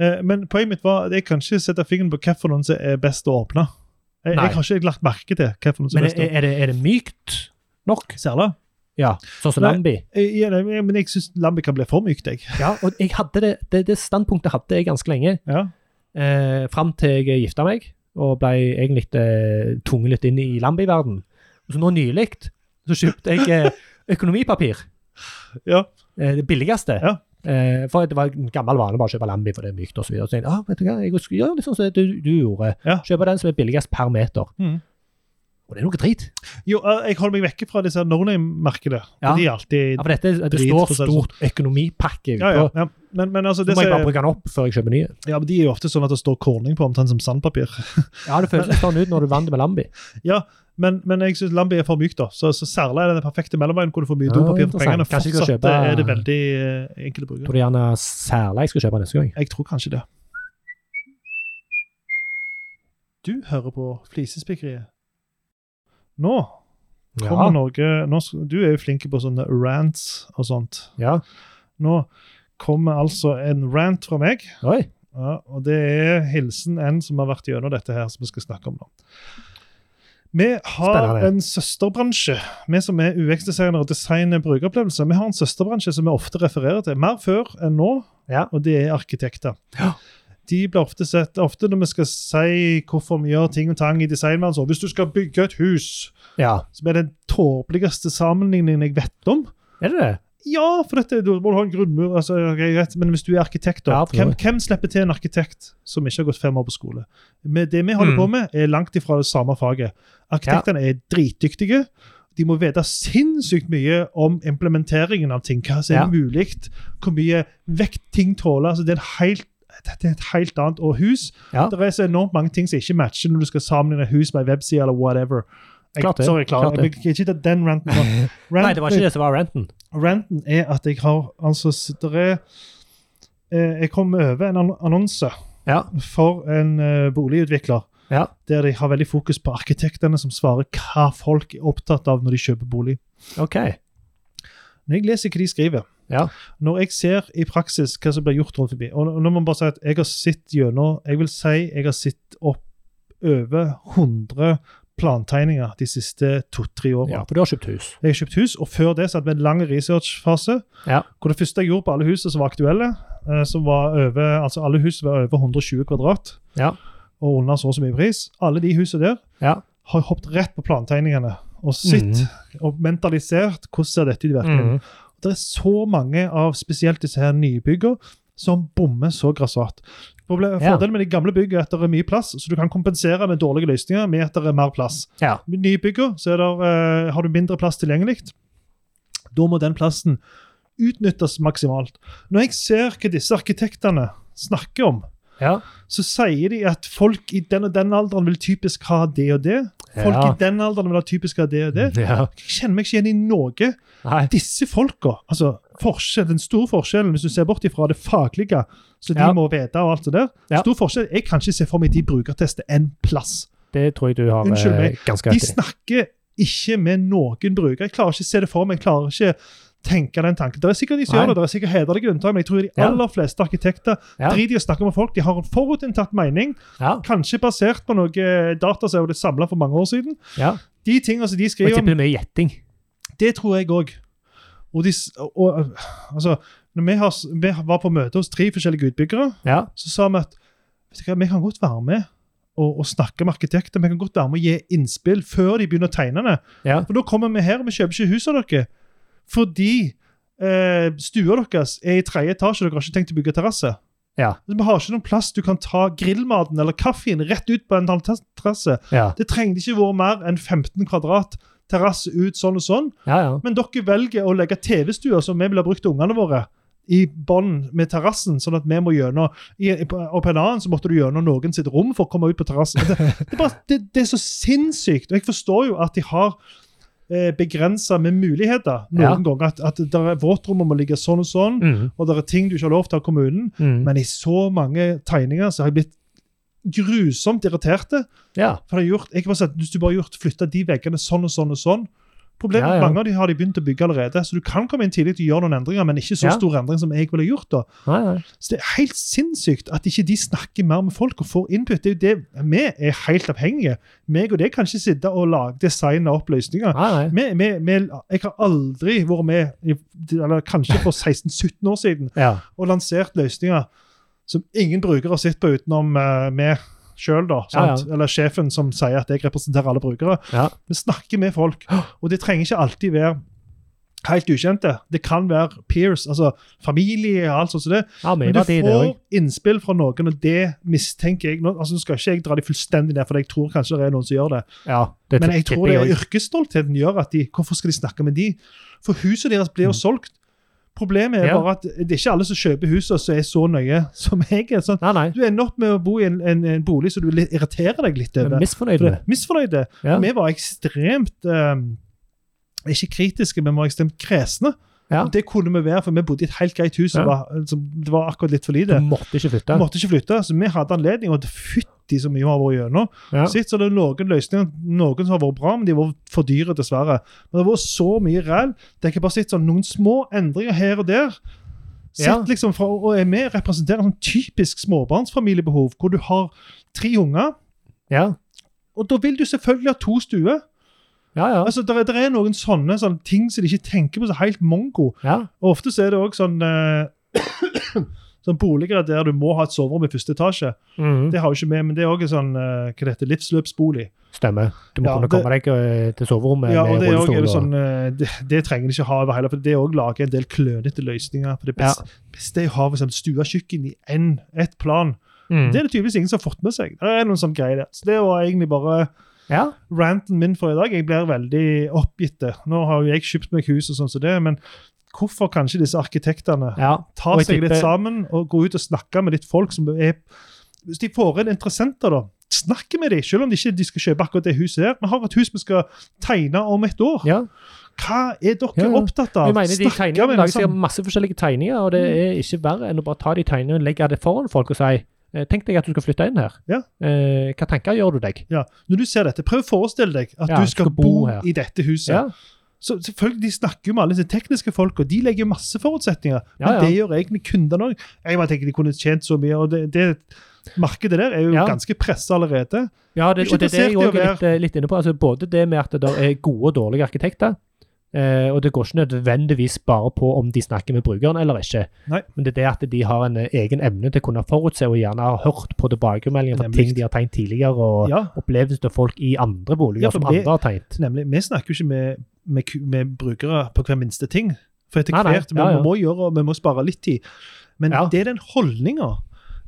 Speaker 2: Eh, men poenget mitt var at jeg kan ikke sette fingeren på hvilken som er best å åpne. Jeg,
Speaker 1: Nei.
Speaker 2: jeg har ikke lagt merke til hvilken som
Speaker 1: Men
Speaker 2: er best
Speaker 1: er,
Speaker 2: å åpne.
Speaker 1: er, det, er det mykt nok?
Speaker 2: Serla?
Speaker 1: Ja, sånn som
Speaker 2: Nei.
Speaker 1: Lambi.
Speaker 2: Eh, ja, nei, men jeg syns Lambi kan bli for mykt, jeg.
Speaker 1: Ja, og jeg hadde det, det, det standpunktet hadde jeg ganske lenge,
Speaker 2: Ja.
Speaker 1: eh, fram til jeg gifta meg og ble egentlig eh, tvunget litt inn i Lambi-verden. Og Så nå nylig så kjøpte jeg eh, økonomipapir.
Speaker 2: Ja.
Speaker 1: Eh, det billigste.
Speaker 2: Ja.
Speaker 1: Eh, for det var en gammel vane bare å kjøpe Lambi, for det er mykt osv. Så videre. så tenkte jeg, ah, vet du hva, jeg skal gjøre litt sånn som du, du gjorde.
Speaker 2: Ja.
Speaker 1: Kjøpe den som er billigst per meter.
Speaker 2: Mhm.
Speaker 1: Og det er noe drit.
Speaker 2: Jo, eh, jeg holder meg vekke fra disse no name-merkene.
Speaker 1: Ja.
Speaker 2: De er alltid
Speaker 1: Ja, for dette, det
Speaker 2: Drit,
Speaker 1: står
Speaker 2: for å si det sånn.
Speaker 1: stort økonomipakke
Speaker 2: Ja, ja.
Speaker 1: utpå.
Speaker 2: ja. Men, men altså,
Speaker 1: Så
Speaker 2: det
Speaker 1: må jeg
Speaker 2: som-
Speaker 1: bare bruke den opp før jeg kjøper nye.
Speaker 2: Ja, men De er jo ofte sånn at det står korning på, omtrent som sandpapir.
Speaker 1: Ja, Det føles litt sånn ut når du vant det med Lambi.
Speaker 2: Men, men jeg syns Lambi er for mykt, da. Så, så særlig er det den perfekte mellomveien hvor du får mye
Speaker 1: Ja,
Speaker 2: dopapir for
Speaker 1: Ah, interessant.
Speaker 2: pengene.
Speaker 1: Kanskje jeg skal
Speaker 2: Fortsatt
Speaker 1: kjøpe-
Speaker 2: eh, er det veldig eh, enkelt å bruke.
Speaker 1: Tror du gjerne særlig jeg skal kjøpe neste gang?
Speaker 2: Jeg tror kanskje det. Du hører på Flisespikkeriet. Nå kommer
Speaker 1: Ja.
Speaker 2: Norge nå, s- Du er jo flink på sånne rants og sånt.
Speaker 1: ja.
Speaker 2: Nå kommer altså en rant fra meg.
Speaker 1: Oi.
Speaker 2: Ja, og det er hilsen en som har vært gjennom dette her, som vi skal snakke om nå. Vi har
Speaker 1: Spennende.
Speaker 2: en søsterbransje. Vi som er UX-designere og designer brukeropplevelser, vi har en søsterbransje som vi ofte refererer til, mer før enn nå,
Speaker 1: Ja.
Speaker 2: og det er arkitekter.
Speaker 1: Ja.
Speaker 2: De blir ofte sett ofte når vi skal si hvorfor vi gjør ting og tang i designverden. så Hvis du skal bygge et hus,
Speaker 1: ja.
Speaker 2: som er den tåpeligste sammenligningen jeg vet om
Speaker 1: Er det det?
Speaker 2: Ja, for dette, du må du ha en grunnmur, altså, ok, greit, men hvis du er arkitekt, da,
Speaker 1: Ja, for så
Speaker 2: hvem,
Speaker 1: vidt.
Speaker 2: hvem slipper til en arkitekt som ikke har gått fem år på skole? Men det vi holder
Speaker 1: Mm.
Speaker 2: på med, er langt ifra det samme faget. Arkitektene er dritdyktige. De må vite sinnssykt mye om implementeringen av ting. Hva som er
Speaker 1: Ja.
Speaker 2: mulig, hvor mye vekt ting tåler. altså det er en helt det er et helt annet og hus.
Speaker 1: Ja.
Speaker 2: Det er så enormt mange ting som ikke matcher når du skal sammenligne hus med en webside eller whatever. Jeg,
Speaker 1: Klart det,
Speaker 2: Sorry, klar,
Speaker 1: klart det.
Speaker 2: Jeg, ikke ta den ranten. nå.
Speaker 1: Nei, det var
Speaker 2: Ranten-
Speaker 1: ikke det som var renten.
Speaker 2: Ranten er at jeg har altså s- der er, eh, Jeg kom over en ann- annonse
Speaker 1: Ja.
Speaker 2: for en eh, boligutvikler
Speaker 1: Ja.
Speaker 2: der de har veldig fokus på arkitektene som svarer hva folk er opptatt av når de kjøper bolig.
Speaker 1: OK.
Speaker 2: Når jeg leser hva de skriver,
Speaker 1: Ja.
Speaker 2: når jeg ser i praksis hva som blir gjort rundt forbi og Nå må man bare si at jeg har sett gjennom Jeg vil si jeg har sett opp over 100 plantegninger de siste to-tre årene.
Speaker 1: ja. For du har kjøpt hus.
Speaker 2: Jeg har kjøpt hus, og før det så hadde vi en lang researchfase.
Speaker 1: Ja.
Speaker 2: Hvor det første jeg gjorde på alle husene som var aktuelle, eh, som var over, altså alle hus var over 120 kvadrat
Speaker 1: Ja.
Speaker 2: og under så og så mye pris, alle de husene der
Speaker 1: Ja.
Speaker 2: har jeg hoppet rett på plantegningene og sett
Speaker 1: Mm.
Speaker 2: og mentalisert hvordan ser dette ut i virkeligheten.
Speaker 1: Mhm.
Speaker 2: Det er så mange av spesielt disse her nybyggene som bommer så grassat. Problem-
Speaker 1: Ja.
Speaker 2: Fordelen med de gamle byggene er at det er mye plass, så du kan kompensere med dårlige løsninger med at det er mer plass.
Speaker 1: Ja.
Speaker 2: Med nybygger så er der, eh, har du mindre plass tilgjengelig. Da må den plassen utnyttes maksimalt. Når jeg ser hva disse arkitektene snakker om,
Speaker 1: Ja.
Speaker 2: så sier de at folk i den og den alderen vil typisk ha det og det. Folk
Speaker 1: Ja.
Speaker 2: i den alderen vil ha typisk ha det og det.
Speaker 1: ja.
Speaker 2: Jeg kjenner meg ikke igjen i noe.
Speaker 1: Nei.
Speaker 2: Disse folka, altså forskjell, den store forskjellen, hvis du ser bort ifra det faglige, så de
Speaker 1: Ja.
Speaker 2: må vite og alt det der,
Speaker 1: Ja.
Speaker 2: stor forskjell, jeg kan ikke se for meg de brukertester en plass.
Speaker 1: Det tror jeg du har
Speaker 2: Unnskyld
Speaker 1: eh,
Speaker 2: meg.
Speaker 1: ganske
Speaker 2: De
Speaker 1: rett i.
Speaker 2: snakker ikke med noen bruker. Jeg klarer ikke å se det for meg. jeg klarer ikke tenke den tanken. Det er sikkert de som gjør
Speaker 1: Nei.
Speaker 2: det, det er sikkert hederlige unntak, men jeg tror de
Speaker 1: Ja.
Speaker 2: aller fleste arkitekter
Speaker 1: Ja.
Speaker 2: driter i å snakke med folk. De har en forutinntatt mening,
Speaker 1: Ja.
Speaker 2: kanskje basert på noe data som er blitt samla for mange år siden.
Speaker 1: ja.
Speaker 2: De tingene som de
Speaker 1: Og jeg
Speaker 2: skriver om,
Speaker 1: tipper det er mye gjetting.
Speaker 2: det tror jeg òg. Og de, s- og, og, altså, når vi, har, s- vi var på møte hos tre forskjellige utbyggere,
Speaker 1: Ja.
Speaker 2: så sa vi at vet du hva, vi kan godt være med og, og snakke med arkitekter. Vi kan godt være med og gi innspill før de begynner å tegne det.
Speaker 1: Ja.
Speaker 2: For da kommer vi her, og vi kjøper ikke hus av dere. Fordi eh, stua deres er i tredje etasje, og dere har ikke tenkt å bygge terrasse.
Speaker 1: Ja.
Speaker 2: Vi har ikke noen plass du kan ta grillmaten eller kaffen rett ut på en terrasse.
Speaker 1: Ja.
Speaker 2: Det trengte ikke vært mer enn 15 kvadrat terrasse ut sånn og sånn.
Speaker 1: Ja, ja.
Speaker 2: Men dere velger å legge TV-stua som vi vil ha brukt til ungene våre, i bånd med terrassen, sånn at vi må gjennom i, i- på- Og på en annen så måtte du gjennom noen sitt rom for å komme ut på terrassen. Det, det, er bare- det, det er så sinnssykt. Og jeg forstår jo at de har eh, begrensa med muligheter noen
Speaker 1: Ja.
Speaker 2: ganger. At, at der er våtrommet må ligge sånn og sånn,
Speaker 1: Mm.
Speaker 2: og det er ting du ikke har lov til av kommunen.
Speaker 1: Mm.
Speaker 2: Men i så mange tegninger så har jeg blitt grusomt irriterte.
Speaker 1: ja.
Speaker 2: For det er gjort, jeg bare sier, at Hvis du bare har gjort, flytta de veggene sånn og sånn og sånn Problemet
Speaker 1: Ja,
Speaker 2: er
Speaker 1: ja.
Speaker 2: at Mange av de har de begynt å bygge allerede, så du kan komme inn tidlig og gjøre noen endringer, men ikke så
Speaker 1: Ja.
Speaker 2: stor endring som jeg ville gjort. da.
Speaker 1: Nei, nei.
Speaker 2: Så Det er helt sinnssykt at ikke de snakker mer med folk og får input. Det er jo det, Vi er helt avhengige. Meg og det kan ikke sitte og lage designe opp løsninger.
Speaker 1: nei, nei.
Speaker 2: Vi, vi, vi, jeg har aldri vært med, i, eller kanskje for 16-17 år siden,
Speaker 1: Ja.
Speaker 2: og lansert løsninger som ingen brukere har sett på utenom uh, meg sjøl, da.
Speaker 1: Ja, ja.
Speaker 2: Sant? Eller sjefen som sier at jeg representerer alle brukere.
Speaker 1: Ja.
Speaker 2: Vi snakker med folk, og det trenger ikke alltid være helt ukjente. Det kan være peers, altså familie og alt sånt som det.
Speaker 1: ja mye
Speaker 2: Men du
Speaker 1: verdi i det
Speaker 2: får
Speaker 1: òg.
Speaker 2: innspill fra noen, og det mistenker jeg. Nå, altså, nå skal ikke jeg dra de fullstendig ned, for jeg tror kanskje det er noen som gjør det.
Speaker 1: Ja, det
Speaker 2: Men jeg
Speaker 1: tipper
Speaker 2: tror det er
Speaker 1: også.
Speaker 2: yrkesstoltheten gjør at de Hvorfor skal de snakke med de? For huset deres blir jo solgt. Problemet er
Speaker 1: Ja.
Speaker 2: bare at det er ikke alle som kjøper huset som er så nøye som jeg er. Sånn.
Speaker 1: Nei, nei.
Speaker 2: Du ender opp med å bo i en, en, en bolig som du litt- irriterer deg litt
Speaker 1: Jeg er
Speaker 2: over.
Speaker 1: Misfornøyd
Speaker 2: For det
Speaker 1: med.
Speaker 2: er Misfornøyde.
Speaker 1: Ja.
Speaker 2: Vi var ekstremt eh, Ikke kritiske, men vi var ekstremt kresne.
Speaker 1: Ja.
Speaker 2: Det kunne vi være, for vi bodde i et helt greit hus. som
Speaker 1: Ja.
Speaker 2: var- som det var akkurat litt for lite.
Speaker 1: Du måtte ikke flytte.
Speaker 2: Vi måtte ikke flytte, så vi hadde anledning. Og fytti så mye vi har vært gjennom.
Speaker 1: Ja.
Speaker 2: Sitt, så det er noen løsninger noen som har vært bra, men de har vært for dyre, dessverre. Men det har vært så mye ræl. Det er ikke bare sitt sånn noen små endringer her og der Sett
Speaker 1: Ja.
Speaker 2: liksom fra, og er med representerer sånn typisk småbarnsfamiliebehov, hvor du har tre unger.
Speaker 1: Ja,
Speaker 2: Og da vil du selvfølgelig ha to stuer.
Speaker 1: ja. ja.
Speaker 2: Altså, der, er- der er noen sånne, sånne ting som de ikke tenker på, som er helt mongo.
Speaker 1: ja.
Speaker 2: Og ofte så er det òg sånn eh, (coughs) Sånn boliger der du må ha et soverom i første etasje.
Speaker 1: Mhm.
Speaker 2: Det har jo ikke vi, men det er òg en sånn eh, hva det heter, livsløpsbolig.
Speaker 1: Stemmer. Du må
Speaker 2: Ja,
Speaker 1: kunne
Speaker 2: det-
Speaker 1: komme deg eh, til soverommet
Speaker 2: Ja, og
Speaker 1: med
Speaker 2: Det er også, er
Speaker 1: rullestol.
Speaker 2: jo sånn,
Speaker 1: og-
Speaker 2: eh, det, det trenger de ikke ha over hele, for det er òg laget en del klønete løsninger. For det
Speaker 1: Ja.
Speaker 2: beste, beste er å ha for eksempel stua kjøkken i en- ett plan.
Speaker 1: Mhm.
Speaker 2: Det er det tydeligvis ingen som har fått med seg. Det er noen sånn greier der. Så det var egentlig bare
Speaker 1: Ja.
Speaker 2: ranten min for i dag. Jeg blir veldig oppgitt. Nå har jo jeg kjøpt meg hus og sånn som det, men hvorfor kan ikke disse arkitektene
Speaker 1: ja.
Speaker 2: ta
Speaker 1: Og jeg
Speaker 2: seg litt
Speaker 1: tipper-
Speaker 2: sammen og gå ut og snakke med litt folk som er Hvis de får inn interessenter, da. Snakke med dem, selv om de ikke de skal kjøpe akkurat det huset her. Vi har et hus vi skal tegne om et år.
Speaker 1: ja.
Speaker 2: Hva er dere
Speaker 1: Ja, ja.
Speaker 2: opptatt av?
Speaker 1: Vi mener de
Speaker 2: Snakke med sånn-
Speaker 1: tegningene
Speaker 2: Mm.
Speaker 1: lager
Speaker 2: dem
Speaker 1: sikkert
Speaker 2: sammen.
Speaker 1: masse forskjellige tegninger, og det er ikke verre enn å bare ta de tegningene og legge det foran folk og si eh, Tenk deg at du skal flytte inn her.
Speaker 2: Ja.
Speaker 1: Eh, hva tanker gjør du deg?
Speaker 2: Ja. Når du ser dette, prøv å forestille deg at
Speaker 1: Ja,
Speaker 2: du skal,
Speaker 1: skal bo
Speaker 2: bo,
Speaker 1: her.
Speaker 2: i dette huset.
Speaker 1: Ja.
Speaker 2: Så selvfølgelig, De snakker jo med alle disse tekniske folka, de legger jo masse forutsetninger. Men
Speaker 1: Ja, ja.
Speaker 2: det gjør egentlig kundene òg. Jeg bare tenker de kunne tjent så mye. og det, det Markedet der er jo
Speaker 1: Ja.
Speaker 2: ganske pressa allerede.
Speaker 1: Ja, det,
Speaker 2: Du er ikke
Speaker 1: og det, er det jeg
Speaker 2: interessert i å
Speaker 1: også er litt, eh, litt inne på. Altså, både det med at det er gode og dårlige arkitekter, eh, og det går ikke nødvendigvis bare på om de snakker med brukeren eller ikke.
Speaker 2: Nei.
Speaker 1: Men det er det at de har en eh, egen emne til å kunne forutse, og gjerne har hørt på tilbakemeldinger fra
Speaker 2: Nemlig.
Speaker 1: ting de har tegnet tidligere, og
Speaker 2: Ja,
Speaker 1: opplevelser til folk i andre boliger
Speaker 2: Ja, for
Speaker 1: som
Speaker 2: vi-
Speaker 1: andre har tegnet.
Speaker 2: nemlig. Vi snakker jo ikke med, med, ku- med brukere på hver minste ting. For etter
Speaker 1: Nei, nei.
Speaker 2: hvert, men
Speaker 1: Ja, ja.
Speaker 2: vi må gjøre, vi må spare litt tid. Men
Speaker 1: Ja.
Speaker 2: det er den holdninga.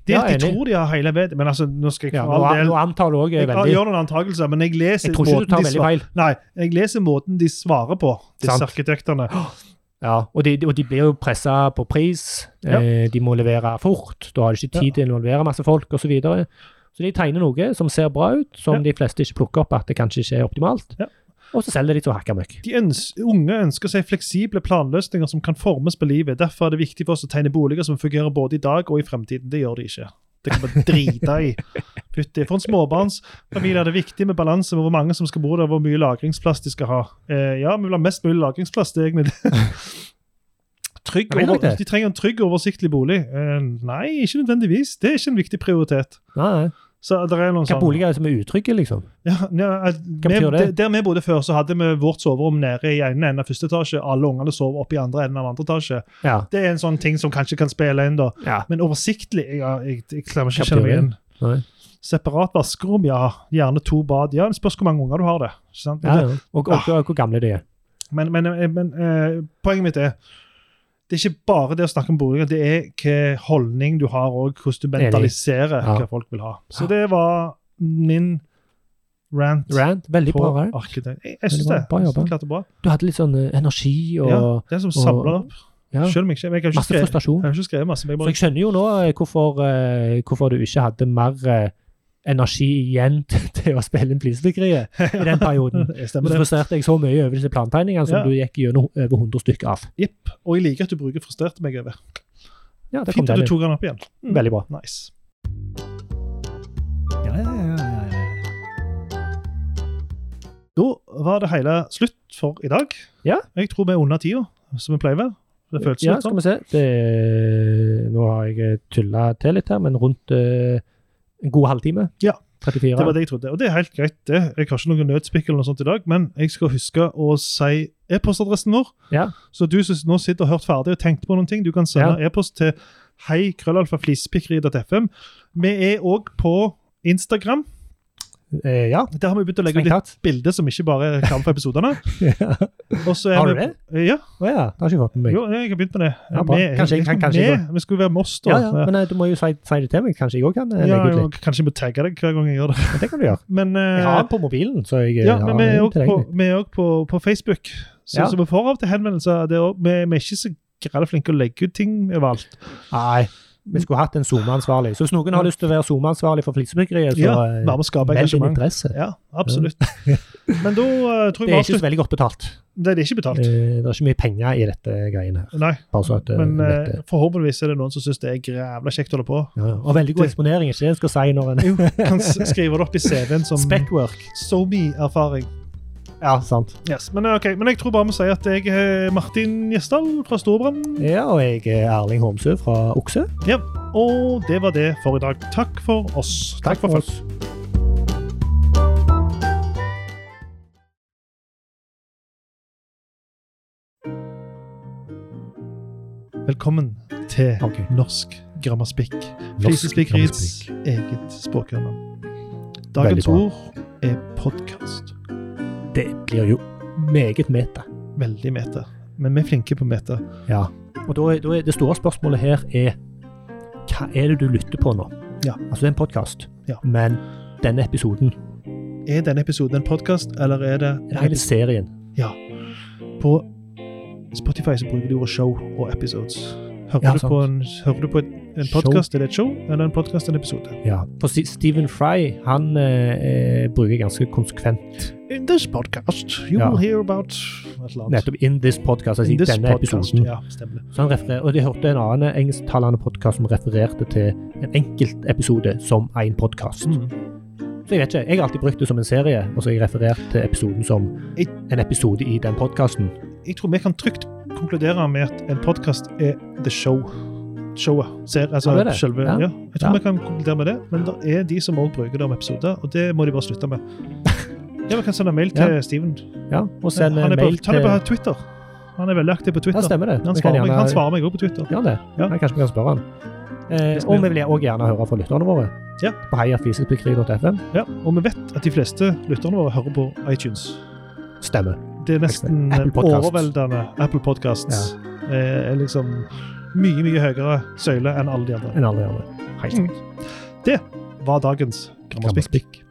Speaker 2: Det
Speaker 1: Ja,
Speaker 2: at de
Speaker 1: enig.
Speaker 2: tror de har hele vedet Men altså, nå skal jeg
Speaker 1: Ja,
Speaker 2: for
Speaker 1: nå,
Speaker 2: all del
Speaker 1: nå antar du også
Speaker 2: jeg
Speaker 1: er veldig
Speaker 2: gjør noen antakelser, men jeg leser
Speaker 1: Jeg tror ikke du
Speaker 2: måten
Speaker 1: tar
Speaker 2: de
Speaker 1: veldig
Speaker 2: svar-
Speaker 1: feil.
Speaker 2: Nei, jeg leser måten de svarer på, disse
Speaker 1: Sant.
Speaker 2: arkitektene.
Speaker 1: Ja, og de, og de blir jo pressa på pris.
Speaker 2: Ja.
Speaker 1: Eh, de må levere fort. Da har de ikke tid til å involvere masse folk osv. Så, videre. så de tegner noe som ser bra ut, som
Speaker 2: Ja.
Speaker 1: de fleste ikke plukker opp at det kanskje ikke er optimalt.
Speaker 2: Ja.
Speaker 1: Og så selger de til å hakke møkk.
Speaker 2: De øns unge ønsker seg fleksible planløsninger som kan formes på livet. Derfor er det viktig for oss å tegne boliger som fungerer både i dag og i fremtiden. Det gjør de ikke. Det kan man drite i. Fytti. For en småbarnsfamilie er det viktig med balanse med hvor mange som skal bo der, og hvor mye lagringsplass de skal ha. Eh, ja, vi vil ha mest mulig lagringsplass. det er egentlig
Speaker 1: (laughs)
Speaker 2: det. Trygg
Speaker 1: Ja, vil dere
Speaker 2: over,
Speaker 1: det?
Speaker 2: de trenger en trygg og oversiktlig bolig. Eh, nei, ikke nødvendigvis. Det er ikke en viktig prioritet.
Speaker 1: Nei, nei.
Speaker 2: Så det er noen
Speaker 1: Hva
Speaker 2: sånne-
Speaker 1: boliger er det som er utrygge, liksom?
Speaker 2: ja, ja, at vi,
Speaker 1: betyr det?
Speaker 2: der- Der vi bodde før, så hadde vi vårt soverom nede i ene enden av første etasje. Alle ungene sov oppe i andre enden av andre etasje.
Speaker 1: Ja.
Speaker 2: Det er en sånn ting som kanskje kan spille inn, da.
Speaker 1: ja.
Speaker 2: Men oversiktlig ja, jeg, jeg klarer ikke å
Speaker 1: Hva
Speaker 2: kjenne meg
Speaker 1: betyr
Speaker 2: igjen.
Speaker 1: Nei.
Speaker 2: Separat vaskerom, ja. Gjerne to bad. Ja, det Spørs hvor mange unger du har, det. Ikke sant?
Speaker 1: ja, ja. Og, og,
Speaker 2: Ah.
Speaker 1: og, hvor gamle de er.
Speaker 2: Men, men, men eh, poenget mitt er det er ikke bare det å snakke om boliger, det er hva holdning du har, og hvordan du
Speaker 1: Enig.
Speaker 2: mentaliserer
Speaker 1: Ja.
Speaker 2: hva folk vil ha. Så det var min rant.
Speaker 1: Rand, veldig
Speaker 2: på
Speaker 1: bra. Rand.
Speaker 2: arkitekt. Jeg, jeg
Speaker 1: Veldig
Speaker 2: syns
Speaker 1: bra.
Speaker 2: det.
Speaker 1: Bra
Speaker 2: Jeg synes
Speaker 1: jobba.
Speaker 2: det klarte bra.
Speaker 1: Du hadde litt sånn eh, energi og
Speaker 2: Ja, det er som samler det opp.
Speaker 1: ja,
Speaker 2: Selv om jeg ikke, men jeg har ikke
Speaker 1: masse
Speaker 2: skrevet, jeg
Speaker 1: frustrasjon.
Speaker 2: har ikke skrevet masse. Men jeg
Speaker 1: Så
Speaker 2: bare,
Speaker 1: jeg skjønner jo nå eh, hvorfor, eh, hvorfor du ikke hadde mer eh, energi igjen (laughs) til, til å spille inn Flisespikkeriet i den perioden.
Speaker 2: jeg (laughs)
Speaker 1: Så
Speaker 2: stemmer det.
Speaker 1: frustrerte jeg så mye over disse plantegningene som
Speaker 2: Ja.
Speaker 1: du gikk gjennom over 100 stykker av.
Speaker 2: Jipp. Og jeg liker at du bruker 'frustrerte meg over'.
Speaker 1: Ja, det kom
Speaker 2: Fint at
Speaker 1: den
Speaker 2: du
Speaker 1: inn.
Speaker 2: tok den opp igjen. Mm.
Speaker 1: Veldig bra.
Speaker 2: Nice.
Speaker 4: Ja, ja, ja, ja, ja.
Speaker 2: Da var det hele slutt for i dag.
Speaker 1: Ja.
Speaker 2: Jeg tror vi er under tida, som vi pleier å være. Det føles
Speaker 1: Ja,
Speaker 2: litt
Speaker 1: skal
Speaker 2: sånn.
Speaker 1: vi se. Det, er- nå har jeg tulla til litt her, men rundt eh, en god halvtime.
Speaker 2: Ja.
Speaker 1: 34.
Speaker 2: Det var det jeg trodde. Og det er helt greit, det. Jeg har ikke noen nødspikk eller noe sånt i dag, men jeg skal huske å si e-postadressen vår.
Speaker 1: Ja.
Speaker 2: Så du som nå sitter og hørt ferdig og tenkte på noen ting, du kan sende e-post til heikrøllalfaflispikkeri.fm. Vi er òg på Instagram.
Speaker 1: Eh, ja.
Speaker 2: Der har vi begynt å legge ut
Speaker 1: Strengt
Speaker 2: litt
Speaker 1: tatt.
Speaker 2: bilder som ikke bare er reklame for episodene.
Speaker 1: Ja.
Speaker 2: Og så er
Speaker 1: (laughs) Har du
Speaker 2: vi- (laughs) Ja,
Speaker 1: Å ja, det har ikke fått med meg.
Speaker 2: jo, jeg har begynt med det.
Speaker 1: Ja, bra.
Speaker 2: Vi-
Speaker 1: Kanskje jeg kan- kanskje jeg
Speaker 2: vi, vi skulle være med oss, da.
Speaker 1: Ja, ja, men eh, du må jo si, si det til meg. Kanskje jeg òg kan eh,
Speaker 2: Ja,
Speaker 1: legge ut
Speaker 2: jo,
Speaker 1: litt.
Speaker 2: kanskje jeg må tagge deg hver gang jeg gjør det.
Speaker 1: Men det kan du gjøre.
Speaker 2: Men, eh,
Speaker 1: Jeg har den på mobilen, så jeg eh,
Speaker 2: Ja,
Speaker 1: har
Speaker 2: men vi er
Speaker 1: den
Speaker 2: òg på,
Speaker 1: tilgjengelig.
Speaker 2: vi er også på, på Facebook. Så,
Speaker 1: Ja.
Speaker 2: så vi får av til henvendelser. Det er også, vi, vi er ikke så grelle flinke å legge ut ting overalt.
Speaker 1: Nei, vi skulle hatt en SoMe-ansvarlig. Så hvis noen har lyst til å være SoMe-ansvarlig for flisebyggeriet, så
Speaker 2: Ja,
Speaker 1: eh,
Speaker 2: Være med å skape
Speaker 1: meld din
Speaker 2: engasjement.
Speaker 1: interesse.
Speaker 2: Ja, absolutt. Men da eh, tror jeg
Speaker 1: Det
Speaker 2: vi
Speaker 1: er ikke så
Speaker 2: avslutter.
Speaker 1: veldig godt betalt.
Speaker 2: Nei, det er ikke betalt.
Speaker 1: Eh, Det er ikke mye penger i dette greiene her.
Speaker 2: Nei,
Speaker 1: Bare så at eh,
Speaker 2: men eh,
Speaker 1: dette-
Speaker 2: forhåpentligvis er det noen som syns det er grævla kjekt å holde på.
Speaker 1: ja, ja. Og veldig god
Speaker 2: det-
Speaker 1: eksponering, ikke det (laughs) en skal si når en
Speaker 2: Jo, kan s- skrive det opp i CV-en som
Speaker 1: Speckwork.
Speaker 2: SoMe-erfaring.
Speaker 1: Ja, sant.
Speaker 2: Yes, men, eh, ok, men jeg tror bare vi sier at jeg er Martin Gjesdal fra Storbrann.
Speaker 1: Ja, og jeg er Erling Homsø fra Okse.
Speaker 2: Ja, og det var det for i dag. Takk for oss. Takk, for følget.
Speaker 1: oss.
Speaker 2: Velkommen til
Speaker 1: Ok.
Speaker 2: Norsk Grammaspikk. Flisespikkeriets eget språkhjørne. Dagens
Speaker 1: Veldig bra.
Speaker 2: ord er podkast.
Speaker 1: Det blir jo meget meta.
Speaker 2: Veldig meta. Men vi er flinke på meta.
Speaker 1: Ja. Og da, er- da er det store spørsmålet her er hva er det du lytter på nå?
Speaker 2: Ja.
Speaker 1: Altså, det er en podkast,
Speaker 2: Ja.
Speaker 1: men denne episoden,
Speaker 2: Er denne episoden en podkast, eller er det en
Speaker 1: hele
Speaker 2: episode
Speaker 1: serien
Speaker 2: På Spotify så bruker de ordet show og episodes. Hører,
Speaker 1: Ja,
Speaker 2: du,
Speaker 1: sant.
Speaker 2: på en, hører du på en, en
Speaker 1: Show.
Speaker 2: podkast, er det et show, eller en podkast en episode?
Speaker 1: Ja. For Si- Stephen Fry han eh, eh, bruker ganske konsekvent
Speaker 2: In this podcast you
Speaker 1: Ja.
Speaker 2: will hear about et eller annet.
Speaker 1: nettopp 'in this podcast', altså
Speaker 2: In
Speaker 1: i
Speaker 2: this
Speaker 1: denne
Speaker 2: podcast.
Speaker 1: episoden.
Speaker 2: Ja, stemmer det.
Speaker 1: Så han referer, og de hørte en annen engelsktalende podkast som refererte til en enkeltepisode som en podkast.
Speaker 2: Mm.
Speaker 1: Så jeg vet ikke, jeg har alltid brukt det som en serie, og så har jeg referert til episoden som en episode i den podkasten.
Speaker 2: jeg tror vi kan trygt konkludere med at en podkast er the show. Showet. Ser, altså,
Speaker 1: Ja, det er det.
Speaker 2: Selve, ja.
Speaker 1: Ja.
Speaker 2: Jeg tror
Speaker 1: Ja.
Speaker 2: vi kan konkludere med det, men det er de som også bruker det om episoder, og det må de bare slutte (laughs) med. Ja, Vi kan sende mail til Steven.
Speaker 1: Ja, og send
Speaker 2: han, er
Speaker 1: mail
Speaker 2: på,
Speaker 1: til
Speaker 2: han er på Twitter. Han er veldig aktiv på
Speaker 1: Ja,
Speaker 2: Twitter.
Speaker 1: stemmer det.
Speaker 2: han,
Speaker 1: Vi kan
Speaker 2: svarer meg,
Speaker 1: gjerne-
Speaker 2: han svarer meg også på Twitter.
Speaker 1: Gjør han det?
Speaker 2: Ja.
Speaker 1: Nei, kanskje vi kan spørre han. Eh,
Speaker 2: Det skal
Speaker 1: og
Speaker 2: vi
Speaker 1: vi vil også gjerne høre fra lytterne våre.
Speaker 2: Ja.
Speaker 1: På heiafisesbyggeri.fm.
Speaker 2: Ja, og vi vet at de fleste lytterne våre hører på iTunes.
Speaker 1: Stemmer.
Speaker 2: Det er nesten eh,
Speaker 1: Apple Podcast.
Speaker 2: overveldende Apple Podcasts. Eh, er liksom mye, mye høyere søyle enn alle de andre. Mm.
Speaker 1: Enn alle andre. Helt sant.
Speaker 2: Var dagens Grammaspikk.
Speaker 1: Grammaspikk.